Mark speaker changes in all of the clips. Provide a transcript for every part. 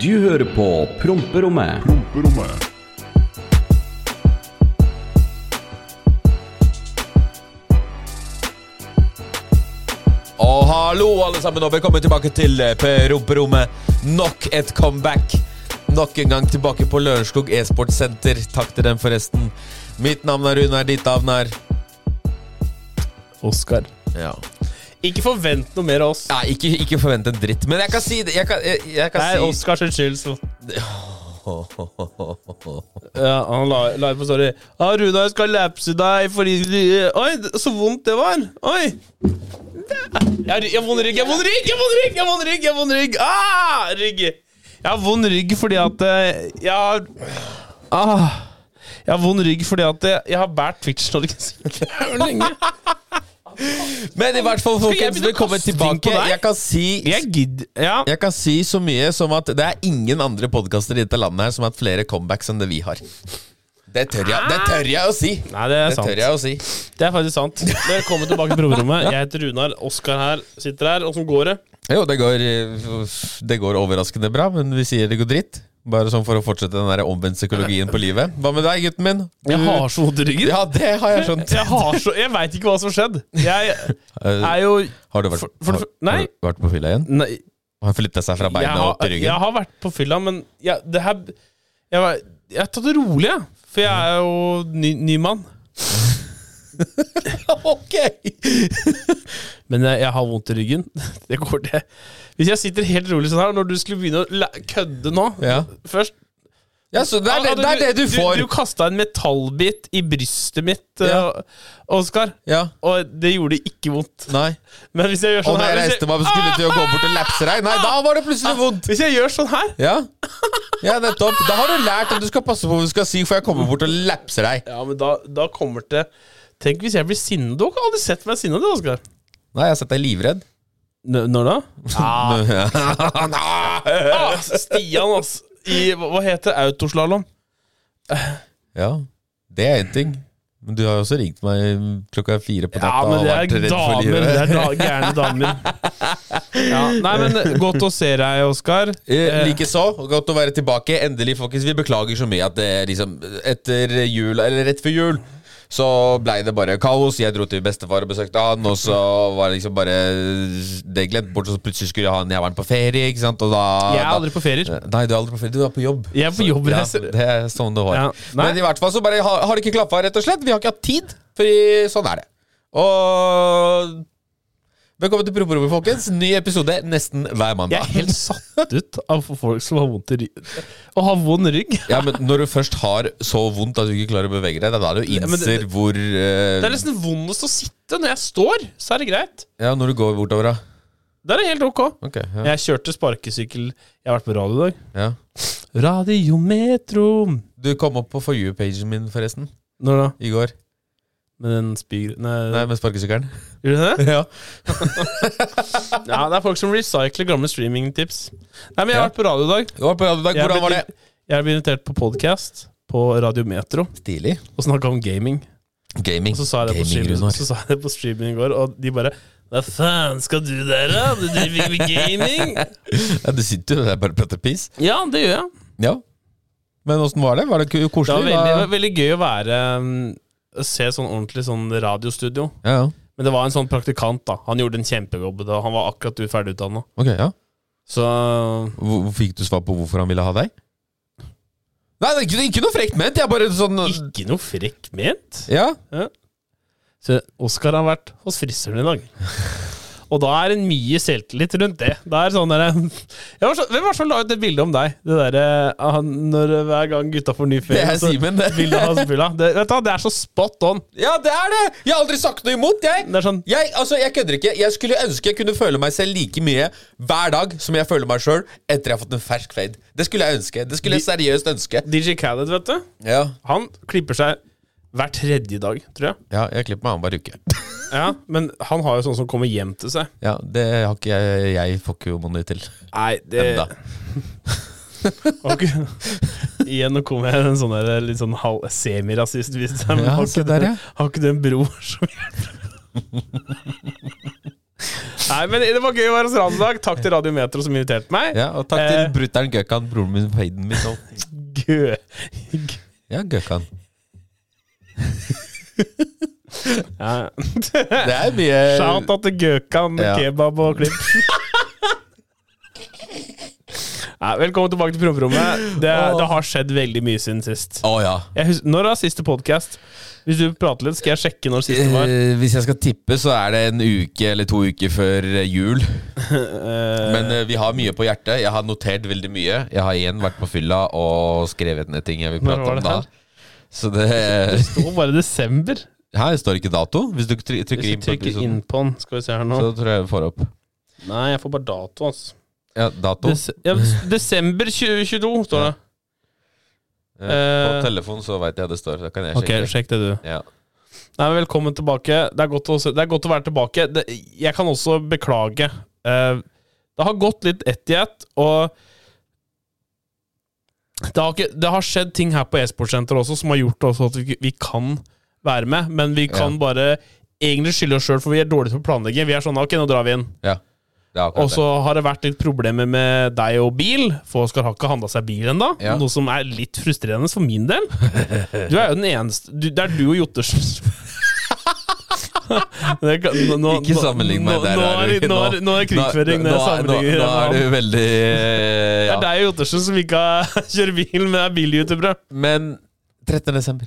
Speaker 1: Du hører på Promperommet.
Speaker 2: Promperommet.
Speaker 3: Og hallo, alle sammen, og velkommen tilbake til eh, Promperommet. Nok et comeback. Nok en gang tilbake på Lørenskog e-sportsenter. Takk til dem, forresten. Mitt navn er Runar, ditt navn er
Speaker 4: Oskar.
Speaker 3: ja.
Speaker 4: Ikke forvent noe mer av oss.
Speaker 3: Nei, ikke, ikke forvent en dritt, men jeg kan si det. Jeg kan, jeg, jeg
Speaker 4: Det er
Speaker 3: kan si
Speaker 4: Oskars skyld. så- Ja, han la, la ut på story. Ja, Runar skal lapse deg fordi du- Oi, det- så vondt det var. Oi! Det- Jeg har jeg har vond rygg, jeg har vond rygg, jeg har vond rygg! Jeg har vond rygg, jeg har vond rygg. Ah, rygg! Jeg har vond rygg fordi at eh, jeg har ah, Jeg har vond rygg fordi at eh, jeg, jeg har båret Twitch-Norge så lenge.
Speaker 3: Men i hvert fall,
Speaker 4: jeg
Speaker 3: folkens,
Speaker 4: begynne å
Speaker 3: velkommen
Speaker 4: kaste ting på
Speaker 3: tilbake.
Speaker 4: deg?
Speaker 3: Jeg kan si
Speaker 4: Jeg gidder Ja.
Speaker 3: jeg kan si så mye som at det er ingen andre podkaster i dette landet her som har hatt flere comebacks enn det vi har. Det tør jeg, det tør jeg å si.
Speaker 4: Nei, det er
Speaker 3: Det
Speaker 4: sant.
Speaker 3: tør jeg å si.
Speaker 4: Det er faktisk sant. Velkommen tilbake til promperommet. Jeg heter Runar. Oskar her sitter her. Åssen går det?
Speaker 3: Jo, det går, det går overraskende bra, men vi sier det går dritt. Bare sånn for å fortsette den der omvendt psykologien på livet. Hva med deg, gutten min?
Speaker 4: Jeg har så vondt i ryggen.
Speaker 3: Ja, det har jeg skjønt.
Speaker 4: Jeg, har så- jeg veit ikke hva som har skjedd. Jeg
Speaker 3: Eh,
Speaker 4: er jo
Speaker 3: Har du vært,
Speaker 4: for- for-
Speaker 3: har,
Speaker 4: nei.
Speaker 3: har du vært på fylla igjen?
Speaker 4: Nei,
Speaker 3: Har flytta seg fra
Speaker 4: jeg
Speaker 3: beina
Speaker 4: har,
Speaker 3: opp til
Speaker 4: jeg
Speaker 3: ryggen?
Speaker 4: har vært på fylla, men jeg, det her Jeg, var- jeg har tatt det rolig, jeg. For jeg er jo ny, ny mann.
Speaker 3: ok!
Speaker 4: Men jeg, jeg har vondt i ryggen. Det går, det. Hvis jeg sitter helt rolig sånn her, når du skulle begynne å la- kødde nå
Speaker 3: Ja.
Speaker 4: Først
Speaker 3: ja, så det er det, det, er det du
Speaker 4: altså, Du,
Speaker 3: får.
Speaker 4: du kasta en metallbit i brystet mitt,
Speaker 3: Ja.
Speaker 4: eh, Oskar.
Speaker 3: Ja.
Speaker 4: Og det gjorde ikke vondt.
Speaker 3: Nei.
Speaker 4: Men hvis jeg
Speaker 3: Og
Speaker 4: gjør sånn
Speaker 3: når jeg
Speaker 4: her hvis
Speaker 3: reiste meg
Speaker 4: jeg,
Speaker 3: og skulle til å gå bort og lapse deg, nei, da var det
Speaker 4: Ah,
Speaker 3: plutselig vondt.
Speaker 4: hvis jeg gjør sånn her
Speaker 3: Ja. ja, nettopp. Da har du lært at du skal passe på hva du skal si, for jeg kommer bort og lapser deg.
Speaker 4: Ja, men da, da kommer det Tenk hvis jeg blir sinna. Du har aldri sett meg sinna, du, Oskar.
Speaker 3: Nei, jeg har sett deg livredd.
Speaker 4: Når da?
Speaker 3: Ja.
Speaker 4: Ah, Stian, altså. I hva hva heter det? autoslalåm?
Speaker 3: Ja, det er én ting. Men du har jo også ringt meg klokka fire på natta
Speaker 4: Ja, men
Speaker 3: og
Speaker 4: det
Speaker 3: vært
Speaker 4: er
Speaker 3: redd for
Speaker 4: damer. Det
Speaker 3: livet.
Speaker 4: er da, gærne damer. Ja, nei, men eh, godt å se deg, Oskar.
Speaker 3: Eh, Likeså. og Godt å være tilbake. Endelig, folkens. Vi beklager så mye at det er liksom etter jul, eller rett før jul, så blei det bare kaos. Jeg dro til bestefar og besøkte han, og så var det liksom bare det glemt bort. Så plutselig skulle jeg ha en jævelen på ferie, ikke sant, og da
Speaker 4: Jeg er
Speaker 3: da-
Speaker 4: aldri på ferier.
Speaker 3: Eh, Nei, du er aldri på ferie. Du er på jobb.
Speaker 4: Jeg er på
Speaker 3: Så-
Speaker 4: jobb,
Speaker 3: ja,
Speaker 4: jeg ser-
Speaker 3: Det er sånn det var.
Speaker 4: Ja, nei.
Speaker 3: Men i hvert fall så bare har, har det ikke klaffa, rett og slett. Vi har ikke hatt tid, for i- sånn er det. Og Velkommen til Promperommet, folkens. Ny episode nesten hver mandag.
Speaker 4: Jeg er helt satt ut av folk som har vondt i ryggen. Å ha vond rygg.
Speaker 3: Ja, men Når du først har så vondt at du ikke klarer å bevege deg, det er da du
Speaker 4: Ja, men det-
Speaker 3: innser hvor eh,
Speaker 4: Det er nesten vondest å sitte. Når jeg står, så er det greit.
Speaker 3: Ja, når du går bortover, da.
Speaker 4: Da er det helt ok.
Speaker 3: Ok, ja.
Speaker 4: Jeg kjørte sparkesykkel Jeg har vært på radio i dag.
Speaker 3: ja.
Speaker 4: Radiometro.
Speaker 3: Du kom opp på For you-pagen min, forresten,
Speaker 4: Når da?
Speaker 3: i går.
Speaker 4: Med den spyr... Nei,
Speaker 3: Nei, med sparkesykkelen.
Speaker 4: Gjorde du det?
Speaker 3: Ja.
Speaker 4: Ja, det er folk som recycler gamle streamingtips. Nei, men jeg har
Speaker 3: Ja.
Speaker 4: vært på radio i dag.
Speaker 3: Du var på radio i dag.
Speaker 4: Jeg
Speaker 3: Hvordan var
Speaker 4: ble-
Speaker 3: det?
Speaker 4: Jeg ble invitert på podkast på Radiometro
Speaker 3: Stilig.
Speaker 4: og snakka om gaming.
Speaker 3: Gaming.
Speaker 4: Og så sa jeg det på
Speaker 3: Gaming,
Speaker 4: streaming,
Speaker 3: Runar.
Speaker 4: så sa jeg det på streaming i går, og de bare Hva faen skal du der, da? Du driver med gaming?
Speaker 3: Ja, du sitter jo der bare og prater piss.
Speaker 4: Ja, det gjør jeg.
Speaker 3: Ja. Men åssen var det? Var det ku-
Speaker 4: Det var
Speaker 3: koselig?
Speaker 4: veldig, det var
Speaker 3: Hva-
Speaker 4: veldig gøy å være um, å Se sånn ordentlig sånn radiostudio.
Speaker 3: Ja, ja.
Speaker 4: Men det var en sånn praktikant, da. Han gjorde en kjempejobb. Da. Han var akkurat ferdigutdanna.
Speaker 3: Ok, ja.
Speaker 4: Så
Speaker 3: Hvor, hvor fikk du svar på hvorfor han ville ha deg? Nei, det er ikke, ikke noe frekt ment. Jeg er bare sånn
Speaker 4: ikke noe frekk ment.
Speaker 3: Ja.
Speaker 4: Så Oskar har vært hos frisøren i dag. Og da er det mye selvtillit rundt det. Det er sånn der, jeg var så, Hvem var det som la ut det bildet om deg? Det derre han, når Hver gang gutta får ny
Speaker 3: Det
Speaker 4: ferie,
Speaker 3: er
Speaker 4: så
Speaker 3: Simen, det.
Speaker 4: bildet av hans fylla. Det, vet du, hva, det er så spot on.
Speaker 3: Ja, det er det! Jeg har aldri sagt noe imot, jeg.
Speaker 4: Det er sånn
Speaker 3: Jeg, altså, jeg kødder ikke. Jeg skulle ønske jeg kunne føle meg selv like mye hver dag som jeg føler meg sjøl etter jeg har fått en fersk fade. Det skulle jeg ønske. Det skulle jeg seriøst ønske.
Speaker 4: DJ Khaled, vet du.
Speaker 3: Ja,
Speaker 4: Han klipper seg hver tredje dag, tror jeg.
Speaker 3: ja jeg klipper meg annenhver uke.
Speaker 4: Ja, Men han har jo sånn som kommer hjem til seg.
Speaker 3: Ja, det har ikke jeg Jeg får ikke money til.
Speaker 4: Nei, det
Speaker 3: Enda.
Speaker 4: Ok. Igjen nå kommer jeg i en sånn der, litt sånn halv semirasist. hvis det er, men
Speaker 3: Ja,
Speaker 4: har,
Speaker 3: se
Speaker 4: ikke
Speaker 3: der,
Speaker 4: du,
Speaker 3: ja.
Speaker 4: har ikke du en bror som hjelper? Nei, men det var gøy å være hos Radio i dag. Takk til Radio Metro som inviterte meg.
Speaker 3: Ja, og takk til
Speaker 4: Eh.
Speaker 3: brutter'n Gøkan, broren min, feiden min og
Speaker 4: Gø.
Speaker 3: Ja, Gøkan.
Speaker 4: Ja.
Speaker 3: Det er mye
Speaker 4: Shout out til Gøkan,
Speaker 3: Ja.
Speaker 4: kebab og klipp. Nei, velkommen tilbake til promperommet. Det, det har skjedd veldig mye siden sist.
Speaker 3: Å ja.
Speaker 4: Jeg hus når er siste podkast? Hvis du prater litt, skal jeg sjekke når siste var.
Speaker 3: Eh, hvis jeg skal tippe, så er det en uke eller to uker før eh, jul.
Speaker 4: Eh,
Speaker 3: Men eh, vi har mye på hjertet. Jeg har notert veldig mye. Jeg har igjen vært på fylla og skrevet ned ting jeg vil
Speaker 4: Når
Speaker 3: prate
Speaker 4: var
Speaker 3: om
Speaker 4: det
Speaker 3: da.
Speaker 4: her?
Speaker 3: Så det
Speaker 4: det var bare desember.
Speaker 3: Her står ikke dato. Hvis du trykker, trykker
Speaker 4: Hvis
Speaker 3: inn
Speaker 4: jeg
Speaker 3: på
Speaker 4: trykker inn
Speaker 3: episoden,
Speaker 4: på den, skal vi se her nå.
Speaker 3: så tror jeg vi får opp.
Speaker 4: Nei, jeg får bare dato, altså.
Speaker 3: Ja, dato.
Speaker 4: Des ja, desember 2022, står det.
Speaker 3: Ja,
Speaker 4: eh,
Speaker 3: på telefonen så veit jeg det står. Da kan jeg
Speaker 4: Ok,
Speaker 3: sjekke.
Speaker 4: sjekk det, du.
Speaker 3: Ja.
Speaker 4: Nei, men Velkommen tilbake. Det er godt å, se- det er godt å være tilbake. Det, jeg kan også beklage. Eh, det har gått litt ett i ett, og det har, ikke, det har skjedd ting her på e-sportsenteret også som har gjort også at vi, ikke- vi kan være med, men vi kan
Speaker 3: Ja.
Speaker 4: bare egentlig skylde oss sjøl, for vi er dårlige til å planlegge. Vi er sånn Ok, nå drar vi inn.
Speaker 3: ja. Det er akkurat
Speaker 4: Og så har det vært litt problemer med deg og bil, for Oskar har ikke handla seg bil ennå.
Speaker 3: Ja.
Speaker 4: Noe som er litt frustrerende for min del. Du er jo den eneste du, Det er du og Jottersen Det kan- nå- nå-
Speaker 3: det. Ikke sammenlign meg
Speaker 4: nå-
Speaker 3: der.
Speaker 4: Nå er,
Speaker 3: Ari.
Speaker 4: det- nå er, nå er det krigføring.
Speaker 3: nå,
Speaker 4: når
Speaker 3: nå,
Speaker 4: jeg
Speaker 3: nå,
Speaker 4: sammenligner
Speaker 3: nå er
Speaker 4: navn.
Speaker 3: du veldig eh,
Speaker 4: Det er
Speaker 3: ja.
Speaker 4: deg og Jottersen som ikke har- kjører bil, men er bilyoutubere.
Speaker 3: Men 13. desember.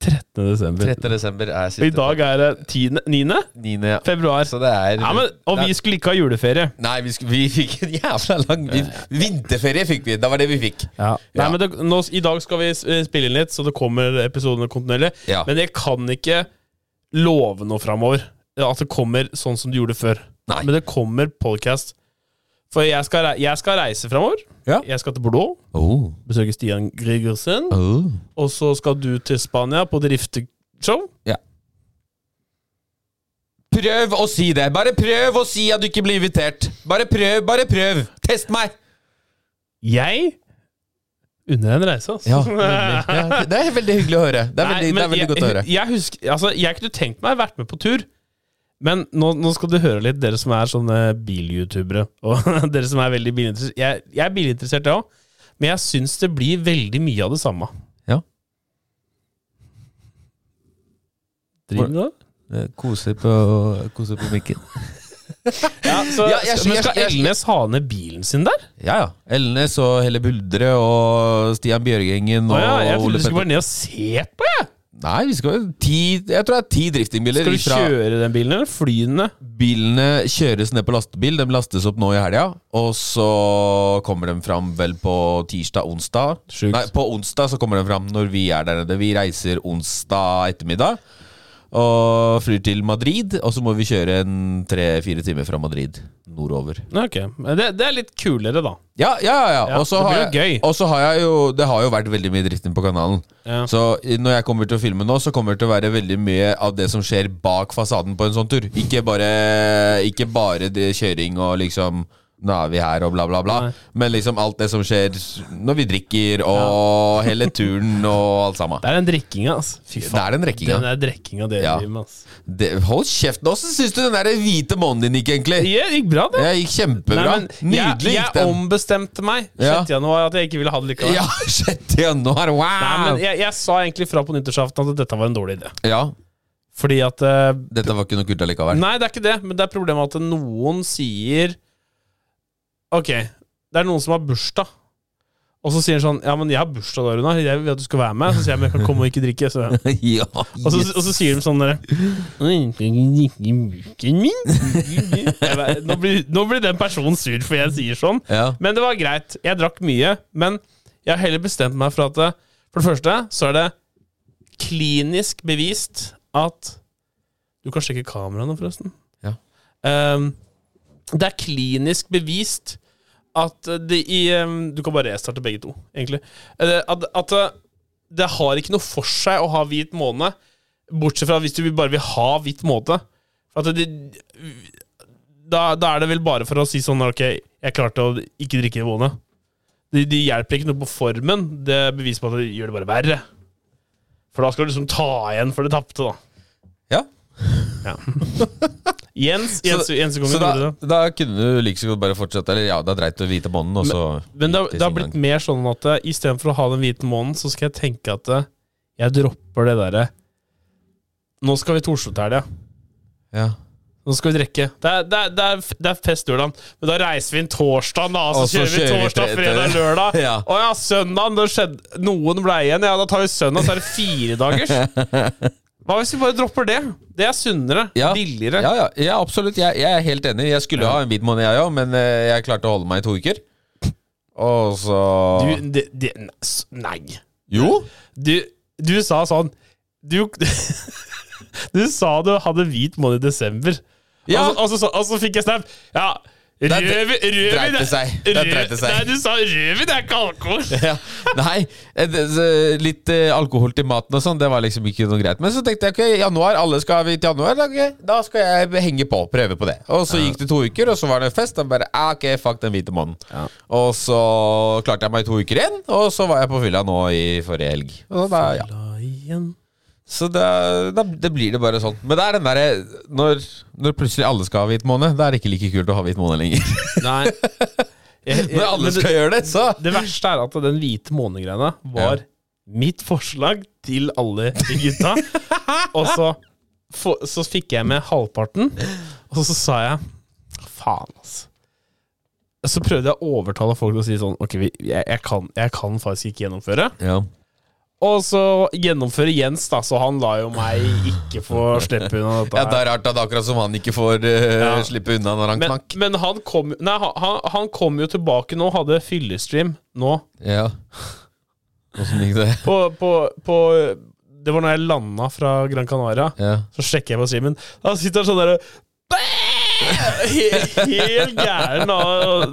Speaker 4: 13. desember.
Speaker 3: 13. desember er
Speaker 4: Og
Speaker 3: siste
Speaker 4: i dag er det 10. 9.
Speaker 3: 9.
Speaker 4: februar.
Speaker 3: Så det er
Speaker 4: Ja, men, og vi skulle ikke ha juleferie.
Speaker 3: Nei, vi, sk- vi fikk en jævla lang vi, Vinterferie fikk vi. Da var det vi fikk.
Speaker 4: Nei,
Speaker 3: Ja.
Speaker 4: men det, nå, I dag skal vi s- eh, spille inn litt, så det kommer episodene kontinuerlig.
Speaker 3: Ja.
Speaker 4: Men jeg kan ikke love noe framover. At det kommer sånn som det gjorde før.
Speaker 3: Nei.
Speaker 4: Men det kommer podcast. For jeg skal, rei- jeg skal reise framover.
Speaker 3: Ja.
Speaker 4: Jeg skal til Bordeaux,
Speaker 3: Oh.
Speaker 4: besøke Stian Gregersen.
Speaker 3: Oh.
Speaker 4: Og så skal du til Spania på drifteshow.
Speaker 3: Prøv å si det. Bare prøv å si at du ikke blir invitert. Bare prøv, bare prøv. Test meg.
Speaker 4: Jeg unner deg en reise, altså.
Speaker 3: det er veldig hyggelig å høre. Det er
Speaker 4: Nei,
Speaker 3: veldig, det er
Speaker 4: men
Speaker 3: veldig godt å høre.
Speaker 4: Jeg, jeg, husker, altså, jeg kunne tenkt meg å vært med på tur, men nå, nå skal du høre litt, dere som er sånne bil-youtubere, og dere som er veldig bilinteressert. Jeg, jeg er bilinteressert, jeg òg, men jeg syns det blir veldig mye av det samme.
Speaker 3: Ja.
Speaker 4: Driver du da?
Speaker 3: Koser Eh, på, koser på mikken.
Speaker 4: Ja, så,
Speaker 3: Ja, jeg-
Speaker 4: men
Speaker 3: jeg-
Speaker 4: skal
Speaker 3: jeg-
Speaker 4: Elnes ha ned bilen sin der?
Speaker 3: Ja, ja. Elnes og Helle Buldre og Stian Bjørgengen og
Speaker 4: Å ja, jeg trodde
Speaker 3: Ole
Speaker 4: du skulle
Speaker 3: Petter.
Speaker 4: bare ned og se på, jeg!
Speaker 3: Nei, vi skal jo ti Jeg tror det er ti driftingbiler.
Speaker 4: Skal du
Speaker 3: fra-
Speaker 4: kjøre den bilen, eller fly den ned?
Speaker 3: Bilene kjøres ned på lastebil. De lastes opp nå i helga. Og så kommer de fram vel på tirsdag-onsdag.
Speaker 4: Sjukt.
Speaker 3: Nei, på onsdag så kommer de fram når vi er der nede. Vi reiser onsdag ettermiddag. Og flyr til Madrid, og så må vi kjøre en tre-fire timer fra Madrid nordover.
Speaker 4: Nei, Ok, Men det, det er litt kulere, da.
Speaker 3: Ja, ja, ja. ja.
Speaker 4: Ja,
Speaker 3: og så
Speaker 4: det blir
Speaker 3: har
Speaker 4: jo
Speaker 3: jeg,
Speaker 4: gøy.
Speaker 3: og så har jeg jo Det har jo vært veldig mye drifting på kanalen.
Speaker 4: Ja.
Speaker 3: Så i- når jeg kommer til å filme nå, så kommer det til å være veldig mye av det som skjer bak fasaden på en sånn tur. Ikke bare, ikke bare det kjøring og liksom nå er vi her, og bla, bla, bla.
Speaker 4: Nei.
Speaker 3: Men liksom alt det som skjer når vi drikker, og hele turen og alt sammen.
Speaker 4: Det er den drikkinga, altså. Fy
Speaker 3: Det er den
Speaker 4: Den
Speaker 3: drikkinga.
Speaker 4: der drekkinga dere
Speaker 3: Ja.
Speaker 4: driver med, altså.
Speaker 3: Det- Hold kjeft nå, så syns du den der hvite månen din gikk, egentlig.
Speaker 4: Det gikk bra, det.
Speaker 3: Ja, gikk kjempebra. Nydelig
Speaker 4: jeg,
Speaker 3: gikk
Speaker 4: jeg
Speaker 3: den.
Speaker 4: ombestemte meg 6.
Speaker 3: Ja.
Speaker 4: januar at jeg ikke ville ha det likevel.
Speaker 3: Ja, 6. januar, wow!
Speaker 4: Nei, men jeg, jeg sa egentlig fra på nyttårsaften at dette var en dårlig idé.
Speaker 3: ja,
Speaker 4: Fordi at eh,
Speaker 3: Dette var ikke noe kult allikevel.
Speaker 4: Nei, det er ikke det, men det er problemet at noen sier Ok, det er noen som har bursdag. Og så sier han sånn Ja, men jeg har bursdag da, Runar. Jeg vil at du skal være med. Så sier jeg men jeg kan komme og ikke drikke. Så,
Speaker 3: ja,
Speaker 4: og, så,
Speaker 3: yes.
Speaker 4: og så sier de sånn derre «Oi, skal jeg drikke i buken min?» Jeg vet- nå, blir- nå blir den personen sur for jeg sier sånn.
Speaker 3: ja.
Speaker 4: Men det var greit. Jeg drakk mye. Men jeg har heller bestemt meg for at eh, For det første så er det klinisk bevist at Du kan sjekke kameraene, forresten.
Speaker 3: Ja.
Speaker 4: Ehm, det er klinisk bevist at det i ehm, Du kan bare restarte begge to, egentlig. Eh, At, at eh, det har ikke noe for seg å ha hvit måne, bortsett fra hvis du bare vil ha hvit måne. At det, da, da er det vel bare for å si sånn Ok, jeg klarte å ikke drikke i måne. Det de hjelper ikke noe på formen. Det er bevis på at det gjør det bare verre. For da skal du liksom ta igjen for det tapte, da.
Speaker 3: ja.
Speaker 4: Ja. Jens, Jens, Jens
Speaker 3: så
Speaker 4: kongen
Speaker 3: da,
Speaker 4: gjorde det.
Speaker 3: da kunne du like så godt bare fortsette. Eller ja, det er dreit å vite månen, og så
Speaker 4: Men det, har-
Speaker 3: til sin
Speaker 4: det har
Speaker 3: gang.
Speaker 4: blitt mer sånn at eh, istedenfor å ha den hvite månen, så skal jeg tenke at eh, jeg dropper det derre Nå skal vi til Oslo til helga.
Speaker 3: ja.
Speaker 4: Nå skal vi drikke. Det er, det, er, det, er, f- det er fest lørdag, men da reiser vi inn torsdag, da. Så,
Speaker 3: Og så
Speaker 4: kjører vi
Speaker 3: kjører vi
Speaker 4: torsdag,
Speaker 3: til- til-
Speaker 4: fredag, lørdag.
Speaker 3: Ja.
Speaker 4: Å ja, søndag. Det skjedde, noen ble igjen. Ja, da tar vi søndag, så er det fire dagers. Hva hvis vi bare dropper det? Det er sunnere.
Speaker 3: Ja.
Speaker 4: Billigere.
Speaker 3: Ja, ja, ja, absolutt. Jeg, jeg er helt enig. Jeg skulle ha en hvit måned, jeg òg, men eh, jeg klarte å holde meg i to uker. Og så
Speaker 4: Du, det, det, s- nei.
Speaker 3: Jo!
Speaker 4: Du, du sa sånn Du, du sa du hadde hvit måned i desember.
Speaker 3: Ja.
Speaker 4: Og, så, og, så, og så fikk jeg snap. Ja.
Speaker 3: Der
Speaker 4: Rødvin
Speaker 3: dre- dreit det seg. Der dreit det seg.
Speaker 4: Nei, du sa rødvin er ikke alkohol.
Speaker 3: Ja. Nei, eh, det- så litt eh, alkohol til maten og sånn, det var liksom ikke noe greit. Men så tenkte jeg ok, januar, alle skal vi til januar, da, ok, da skal jeg henge på, prøve på det. Og så gikk det to uker, og så var det fest. Og bare ah, ok, fuck den hvite mannen. Og så klarte jeg meg i to uker igjen, og så var jeg på fylla nå i forrige helg. Og da, ja. Så da, da, det blir det bare sånn. Men det er den derre når, når plutselig alle skal ha hvit måned, da er det ikke like kult å ha hvit måned lenger.
Speaker 4: Nei. Jeg, jeg,
Speaker 3: Når alle
Speaker 4: men det,
Speaker 3: skal gjøre det, så
Speaker 4: det verste er at den hvite månegreia var
Speaker 3: Ja.
Speaker 4: mitt forslag til alle de gutta. og så, få- så fikk jeg med halvparten, og så sa jeg faen, altså. Så prøvde jeg å overtale folk til å si sånn Ok, vi, jeg, jeg, kan, jeg kan faktisk ikke gjennomføre.
Speaker 3: Ja.
Speaker 4: Og så gjennomføre Jens, da, så han la jo meg ikke få slippe unna dette.
Speaker 3: Ja,
Speaker 4: her.
Speaker 3: det er rart at akkurat som han ikke får eh,
Speaker 4: Ja.
Speaker 3: slippe unna når han
Speaker 4: Men,
Speaker 3: knakk.
Speaker 4: men han, kom, nei, han- han, han kom jo tilbake nå, hadde fyllestream nå.
Speaker 3: Ja. Åssen gikk det?
Speaker 4: På, på, på Det var når jeg landa fra Gran Canaria.
Speaker 3: Ja.
Speaker 4: Så sjekker jeg på streamen. Da sitter han sånn derre He- Helt gæren. og- og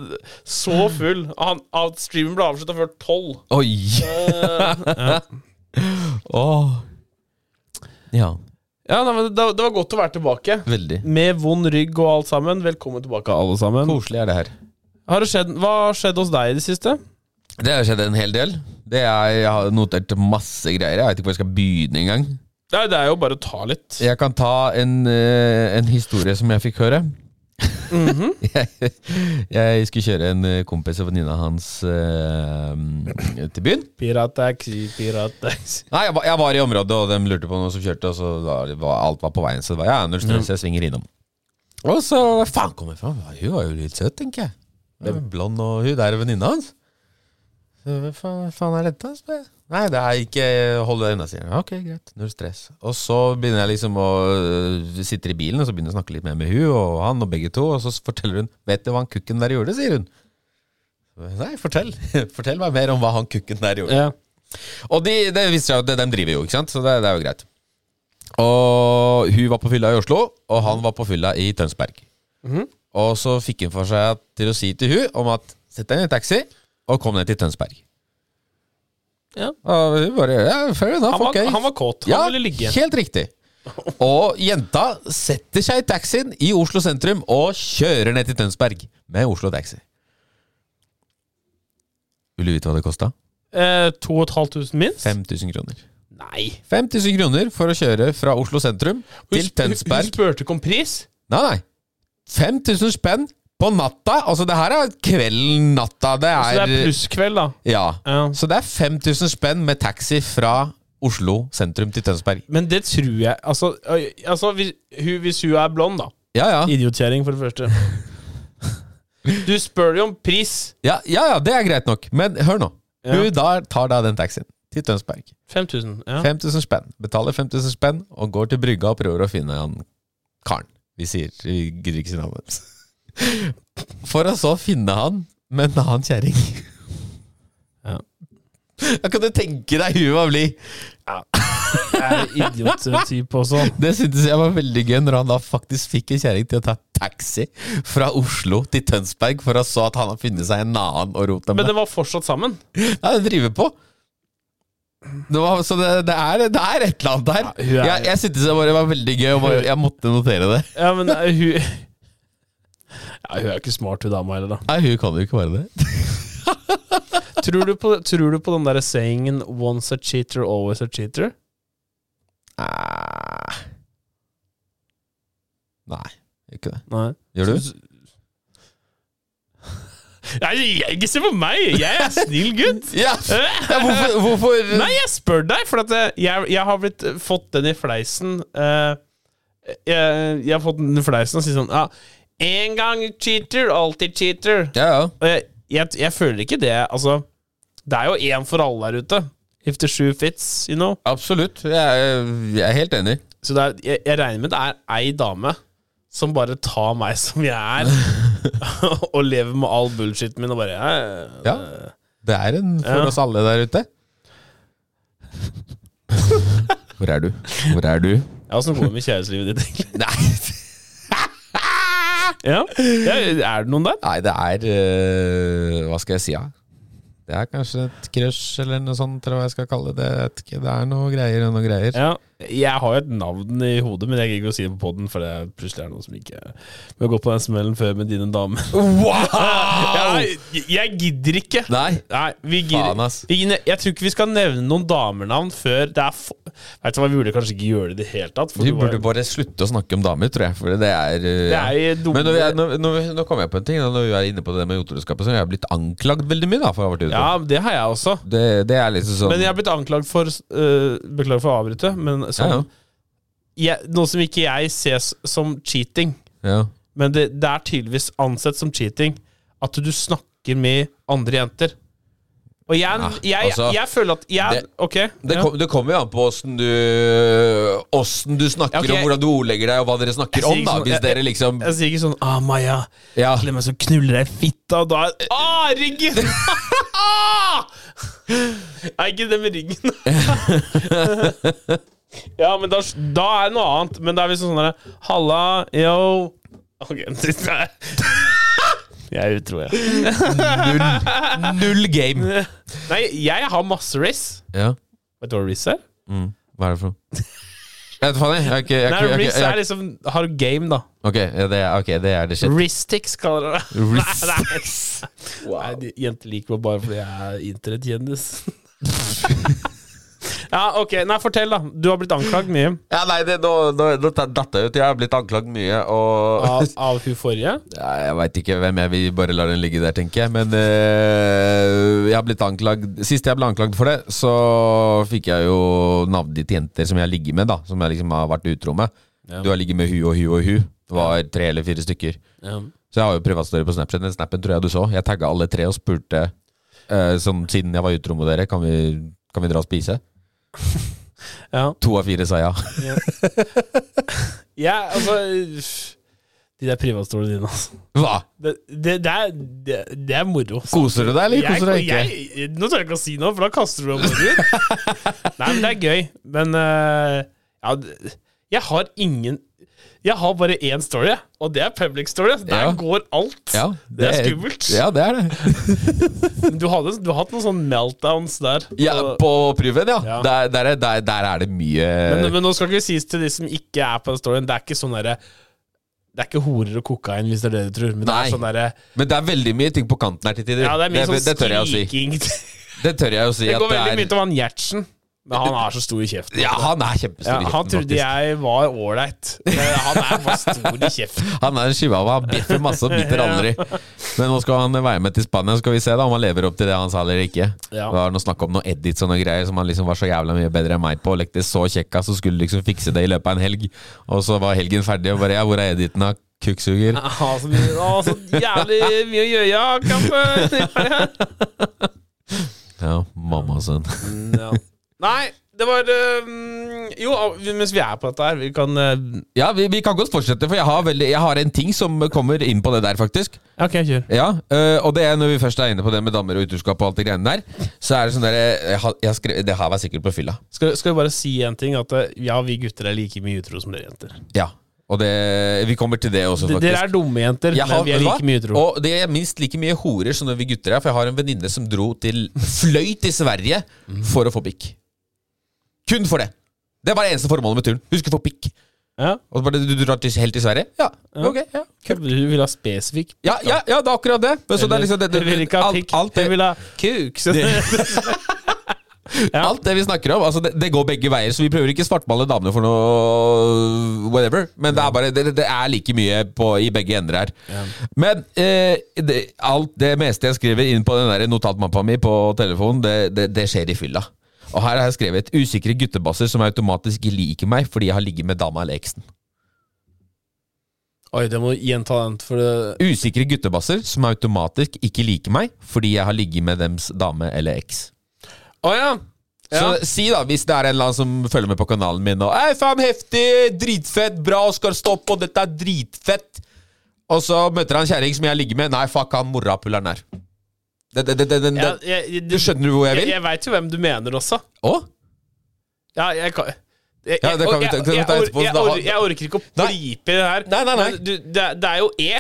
Speaker 4: Så full. Han, at streamen ble avslutta før tolv.
Speaker 3: Oi!
Speaker 4: Eh,
Speaker 3: Åh. Ja,
Speaker 4: Ja, nei, men det, det var godt å være tilbake.
Speaker 3: veldig.
Speaker 4: Med vond rygg og alt sammen. Velkommen tilbake, alle sammen.
Speaker 3: Koselig er det her.
Speaker 4: Har det skjedd, hva har skjedd hos deg i det siste?
Speaker 3: Det har skjedd en hel del. Det er, jeg har notert masse greier. Jeg vet ikke hvor jeg skal begynne engang.
Speaker 4: Nei, det er jo bare å ta litt.
Speaker 3: Jeg kan ta en, eh, en historie som jeg fikk høre.
Speaker 4: Mhm.
Speaker 3: jeg, jeg skulle kjøre en eh, kompis og venninna hans eh, til byen.
Speaker 4: Pirattaxi, pirattaxi.
Speaker 3: Nei, jeg, var- jeg var i området, og de lurte på noen som kjørte, og så var, det- var, alt var på veien. Så det var ja, null stress, jeg svinger innom. Og så faen kom jeg fram. Hun var jo litt søt, tenker jeg. Det er blond, og hun der er venninna hans. Så hva faen, hva faen er dette? spør jeg. Nei, det er ikke Hold deg unna, sier han. Ok, greit. Null stress. Og så begynner jeg liksom å Vi sitter i bilen, og så begynner jeg å snakke litt mer med hun og han og begge to, og så forteller hun Vet du hva han kukken der gjorde, sier hun. Nei, fortell. Fortell meg mer om hva han kukken der gjorde.
Speaker 4: Ja.
Speaker 3: Og de, det viser seg jo at de driver jo, ikke sant? Så det, det er jo greit. Og hun var på fylla i Oslo, og han var på fylla i Tønsberg.
Speaker 4: Mhm.
Speaker 3: Og så fikk hun for seg at- til å si til hun om at sett deg i en taxi og kom ned til Tønsberg.
Speaker 4: Ja.
Speaker 3: Og hun bare ja, fair enough,
Speaker 4: Han, var,
Speaker 3: ok.
Speaker 4: han var kåt. Han
Speaker 3: ja,
Speaker 4: ville ligge.
Speaker 3: helt riktig. Og jenta setter seg i taxien i Oslo sentrum og kjører ned til Tønsberg med Oslo Taxi. Vil du vite hva det kosta?
Speaker 4: Eh, 2500 minst?
Speaker 3: 5000 kroner.
Speaker 4: Nei.
Speaker 3: 5000 kroner for å kjøre fra Oslo sentrum til
Speaker 4: Hun- Hun
Speaker 3: Tønsberg.
Speaker 4: spurte ikke om pris.
Speaker 3: Nei, nei. 5000 spenn på natta. Altså, det her er kvelden, natta. Det
Speaker 4: Så Altså, det
Speaker 3: er,
Speaker 4: er plusskveld, da.
Speaker 3: Ja.
Speaker 4: Ja.
Speaker 3: Så det er 5000 spenn med taxi fra Oslo sentrum til Tønsberg.
Speaker 4: Men det tror jeg Altså, øy, altså hvis, hun, hvis hun er blond, da.
Speaker 3: Ja, ja.
Speaker 4: Idiotkjerring, for det første. Du spør jo om pris.
Speaker 3: Ja, ja, ja det er greit nok. Men hør nå.
Speaker 4: Ja.
Speaker 3: Hun da tar da den taxien til Tønsberg.
Speaker 4: 5000. Ja.
Speaker 3: 5000 spenn. Betaler 5000 spenn og går til brygga og prøver å finne han karen. Vi sier vi gidder ikke si navnet hans. For å så finne han med en annen kjerring.
Speaker 4: Ja.
Speaker 3: Da kan du tenke deg huet var blid!
Speaker 4: Er idiottype også.
Speaker 3: Det syntes jeg var veldig gøy, når han da faktisk fikk en kjerring til å ta taxi fra Oslo til Tønsberg, for å så at han har funnet seg en annen å rote
Speaker 4: Men
Speaker 3: med.
Speaker 4: den var fortsatt sammen.
Speaker 3: Nei, det driver på. Det var, så det, det, er, det er et eller annet der.
Speaker 4: hun er-
Speaker 3: Jeg, jeg syntes det bare var veldig gøy, og bare, jeg måtte notere det.
Speaker 4: Ja, men eh, hun Ja, hun er ikke smart, hun dama heller, da.
Speaker 3: Nei, hun kan jo ikke være det.
Speaker 4: Tror du på, tror du på den derre sayingen 'once a cheater, always a cheater'?
Speaker 3: Ah. Nei, jeg ikke det.
Speaker 4: Nei.
Speaker 3: Gjør du?
Speaker 4: Nei, jeg- ikke se på meg! Jeg er snill gutt.
Speaker 3: Ja! ja hvorfor, hvorfor
Speaker 4: Nei, jeg spør deg, for at eh, jeg, jeg har blitt fått den i fleisen eh, jeg, jeg har fått den i fleisen og sier sånn ja, En gang cheater, alltid cheater.
Speaker 3: Ja, ja.
Speaker 4: Og jeg, jeg, jeg føler ikke det Altså, det er jo én for alle der ute. If the shoe fits, you know.
Speaker 3: Absolutt. Jeg er, jeg er helt enig.
Speaker 4: Så det er, jeg, jeg regner med det er ei dame som bare tar meg som jeg er, og lever med all bullshiten min og bare eh,
Speaker 3: Ja. Det er en for
Speaker 4: Ja.
Speaker 3: oss alle der ute. Hvor er du? Hvor er du?
Speaker 4: Ja, Åssen går det med kjærestelivet ditt, egentlig?
Speaker 3: Nei,
Speaker 4: Ja. ja, Er det noen der?
Speaker 3: Nei det er eh, Hva skal jeg si, da? Det er kanskje et crush, eller noe sånt, tror jeg jeg skal kalle det. Jeg vet ikke, Det er noe greier og noe greier.
Speaker 4: Ja. Jeg har jo et navn i hodet, men jeg gidder ikke å si det på poden, for det er plutselig er noen som ikke Vi har gått på den smellen før med dine damer.
Speaker 3: Wow!
Speaker 4: Jeg, jeg gidder ikke.
Speaker 3: Nei.
Speaker 4: Nei, vi
Speaker 3: Faen,
Speaker 4: gidder
Speaker 3: ass.
Speaker 4: vi, ne- Jeg tror ikke vi skal nevne noen damenavn før det er f Vet du hva, Vi burde kanskje ikke gjøre det i det hele tatt. for
Speaker 3: Vi
Speaker 4: det var-
Speaker 3: burde bare slutte å snakke om damer, tror jeg. For det er, eh,
Speaker 4: Det er jo dumme-
Speaker 3: Men når vi er, når, når, vi- nå kom jeg på en ting. da, Når vi er inne på det med jotoroskapet, så har jeg blitt anklagd veldig mye da, for å ha vært utro.
Speaker 4: Ja, det har jeg også.
Speaker 3: Det, det er liksom sånn
Speaker 4: Men jeg har blitt anklagd for øh, Beklager for å avbryte, men sånn, Jeg, noe som ikke jeg ser s- som cheating.
Speaker 3: ja, ja.
Speaker 4: Men det, det er tydeligvis ansett som cheating at du snakker med andre jenter. Og jeg, jeg,
Speaker 3: altså,
Speaker 4: jeg føler at jeg,
Speaker 3: det-
Speaker 4: Ok.
Speaker 3: Det,
Speaker 4: ja.
Speaker 3: kom, det kommer jo an på åssen du, åssen du snakker,
Speaker 4: Ja, ok.
Speaker 3: og hvordan du ordlegger deg, og hva dere
Speaker 4: Jeg
Speaker 3: snakker
Speaker 4: sier
Speaker 3: om, da.
Speaker 4: ikke sånn-
Speaker 3: Hvis
Speaker 4: jeg-
Speaker 3: dere liksom
Speaker 4: Jeg sier ikke sånn 'Ah, Maja,
Speaker 3: Ja.
Speaker 4: glem meg så knuller jeg i fitta', og da er Ah, ryggen! ah! Er ikke det med ryggen? ja, men da, da er det noe annet. Men da er vi sånn sånn derre 'Halla, yo' Ok, det er Jeg er utro, jeg.
Speaker 3: Null, null game.
Speaker 4: Nei, jeg har masse riss.
Speaker 3: Ja.
Speaker 4: Vet du hva riss er?
Speaker 3: Mm. Hva er det for noe? Jeg vet faen, jeg. jeg, er ikke- jeg, er
Speaker 4: Nei,
Speaker 3: ikke- jeg, er
Speaker 4: Riz
Speaker 3: ikke-
Speaker 4: er
Speaker 3: jeg,
Speaker 4: liksom Har du game, da?
Speaker 3: ok, ja, det er, ok, det er det shit.
Speaker 4: Riz-tics kaller det det.
Speaker 3: Riz.
Speaker 4: Nei, nei. Nei, de- Jenter liker meg bare fordi jeg er internettkjendis. ja, ok. Nei, fortell, da. Du har blitt anklagd mye
Speaker 3: Ja, nei, det, nå, nå, nå datt jeg ut. Jeg har blitt anklagd mye, og
Speaker 4: av, av hun forrige.
Speaker 3: Ja, Jeg veit ikke hvem jeg vil bare la den ligge der, tenker jeg. Men eh, jeg har blitt anklagd Sist jeg ble anklagd for det, så fikk jeg jo navngitt jenter som jeg ligger med, da. Som jeg liksom har vært utro med. Du har ligget med hu og hu og hu. Det var tre eller fire stykker. Så jeg har jo privatstory på Snapchat. Den snappen tror jeg du så. Jeg tagga alle tre og spurte eh, sånn siden jeg var utro med dere, kan vi, kan vi dra og spise?
Speaker 4: Ja.
Speaker 3: To av fire sa ja.
Speaker 4: ja, altså uff. De der privatstolene dine, altså.
Speaker 3: Hva?
Speaker 4: Det, det, det, er, det, det er moro.
Speaker 3: Koser du deg, eller
Speaker 4: Jeg-
Speaker 3: koser du deg ikke?
Speaker 4: jeg- nå tør jeg ikke å si noe, for da kaster du opp bordet ditt. Nei, men det er gøy. Men eh, ja, d- jeg har ingen Jeg har bare én story, jeg, og det er public story. ass. Der
Speaker 3: Ja.
Speaker 4: går alt.
Speaker 3: Ja,
Speaker 4: det, er skummelt.
Speaker 3: Ja, det er det.
Speaker 4: Du, hadde, du har hatt noen sånne meltdowns der.
Speaker 3: Ja,
Speaker 4: og-
Speaker 3: på Pruven, ja.
Speaker 4: Ja.
Speaker 3: Der, der, er- der, der er det mye
Speaker 4: men, men nå skal ikke sies til de som ikke er på den storyen. Det er ikke sånn derre Det er ikke horer og kokain, hvis det er det du tror. Men det
Speaker 3: Nei.
Speaker 4: er sånn derre
Speaker 3: Men det er veldig mye ting på kanten her til tider.
Speaker 4: Ja, det er mye
Speaker 3: det,
Speaker 4: sånn
Speaker 3: det tør jeg å si.
Speaker 4: skriking.
Speaker 3: Det tør jeg å si
Speaker 4: Det
Speaker 3: at
Speaker 4: går
Speaker 3: det
Speaker 4: veldig mye
Speaker 3: er
Speaker 4: til han Gjertsen. Men han har så stor i kjeften.
Speaker 3: Ja, han er
Speaker 4: Ja,
Speaker 3: kjempestor i
Speaker 4: han
Speaker 3: kjeften,
Speaker 4: trodde
Speaker 3: faktisk.
Speaker 4: jeg var ålreit. men Han er bare stor i kjeften.
Speaker 3: Han er en chihuahua, han bjeffer masse og biter aldri. Men nå skal han være med til Spania, så skal vi se da om han lever opp til det han sa eller ikke.
Speaker 4: Ja.
Speaker 3: Det var noe snakk om noe edits og noe greier som han liksom var så jævla mye bedre enn meg på. Og lekte så kjekka, så skulle liksom fikse det i løpet av en helg. Og så var helgen ferdig, og bare ja, hvor er editen da? Kukksuger.
Speaker 4: Ah, så, mye, ah, så jævlig mye å gjøre, ja, kampen!
Speaker 3: Ja, mamma og sønn.
Speaker 4: Ja. Nei, det var eh, Jo, ah, mens vi er på dette her, vi kan eh,
Speaker 3: Ja, vi, vi kan godt fortsette, for jeg har, veldig, jeg har en ting som kommer inn på det der, faktisk.
Speaker 4: Ok, kjør.
Speaker 3: Ja, øh, Og det er når vi først er inne på det med damer og utroskap og alt det greiene der, så er det sånn der jeg har, jeg har skrevet, Det her var sikkert på fylla.
Speaker 4: Skal, skal vi bare si en ting? At eh, ja, vi gutter er like mye utro som dere jenter.
Speaker 3: Ja. Og det Vi kommer til det også,
Speaker 4: D-
Speaker 3: faktisk.
Speaker 4: Dere er dumme jenter,
Speaker 3: Jeg har-
Speaker 4: men vi er
Speaker 3: vet du hva?
Speaker 4: like mye utro.
Speaker 3: Og det er minst like mye horer som det vi gutter er, for jeg har en venninne som dro til fløy til Sverige for å få pikk. Kun for det. Det var det eneste formålet med turen. Hun skulle få pikk.
Speaker 4: Ja.
Speaker 3: Og så bare du, du drar til, helt til Sverige? Ja.
Speaker 4: Ja.
Speaker 3: Ok. Ja.
Speaker 4: Hun vil ha spesifikk
Speaker 3: Ja, ja, ja, det er akkurat det. Men så det er liksom det,
Speaker 4: Hun vil ikke ha
Speaker 3: alt-
Speaker 4: pikk,
Speaker 3: alt det-
Speaker 4: hun vil ha kuk. Så det, Ja.
Speaker 3: Alt det vi snakker om, altså det, det går begge veier, så vi prøver ikke svartmale damene for noe whatever. Men det er bare Det, det er like mye på, i begge ender her. Men eh, det, alt det meste jeg skriver inn på den der notatmappa mi på telefonen, det, det, det skjer i fylla. Og her har jeg skrevet 'usikre guttebasser som automatisk liker meg fordi jeg har ligget med dama eller eksen'.
Speaker 4: Oi, det må du gjenta den, for det
Speaker 3: Usikre guttebasser som automatisk ikke liker meg fordi jeg har ligget med dems dame eller eks.
Speaker 4: Å ja!
Speaker 3: Så
Speaker 4: Ja.
Speaker 3: si da, hvis det er en eller annen som følger med på kanalen min og Hei, faen, heftig, dritfett, bra, Oskar, stopp, og dette er dritfett. Og så møter han kjerring som jeg ligger med. Nei, fuck han morapuleren der. Det, det, det, det, det,
Speaker 4: ja jeg,
Speaker 3: Du skjønner hvor jeg
Speaker 4: jeg,
Speaker 3: vil?
Speaker 4: jeg veit jo hvem du mener også.
Speaker 3: Å?
Speaker 4: Ja, jeg kan jeg,
Speaker 3: Ja, det kan vi ta-
Speaker 4: jeg-
Speaker 3: kan vi
Speaker 4: jeg
Speaker 3: ta
Speaker 4: or-
Speaker 3: etterpå, så
Speaker 4: Jeg
Speaker 3: da har-
Speaker 4: or- jeg orker ikke å
Speaker 3: Nei.
Speaker 4: pripe i det her.
Speaker 3: Nei, nei, nei.
Speaker 4: Men du, det, er- det er jo E.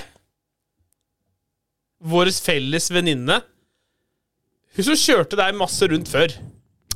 Speaker 4: Vår felles venninne. Hun som kjørte deg masse rundt før.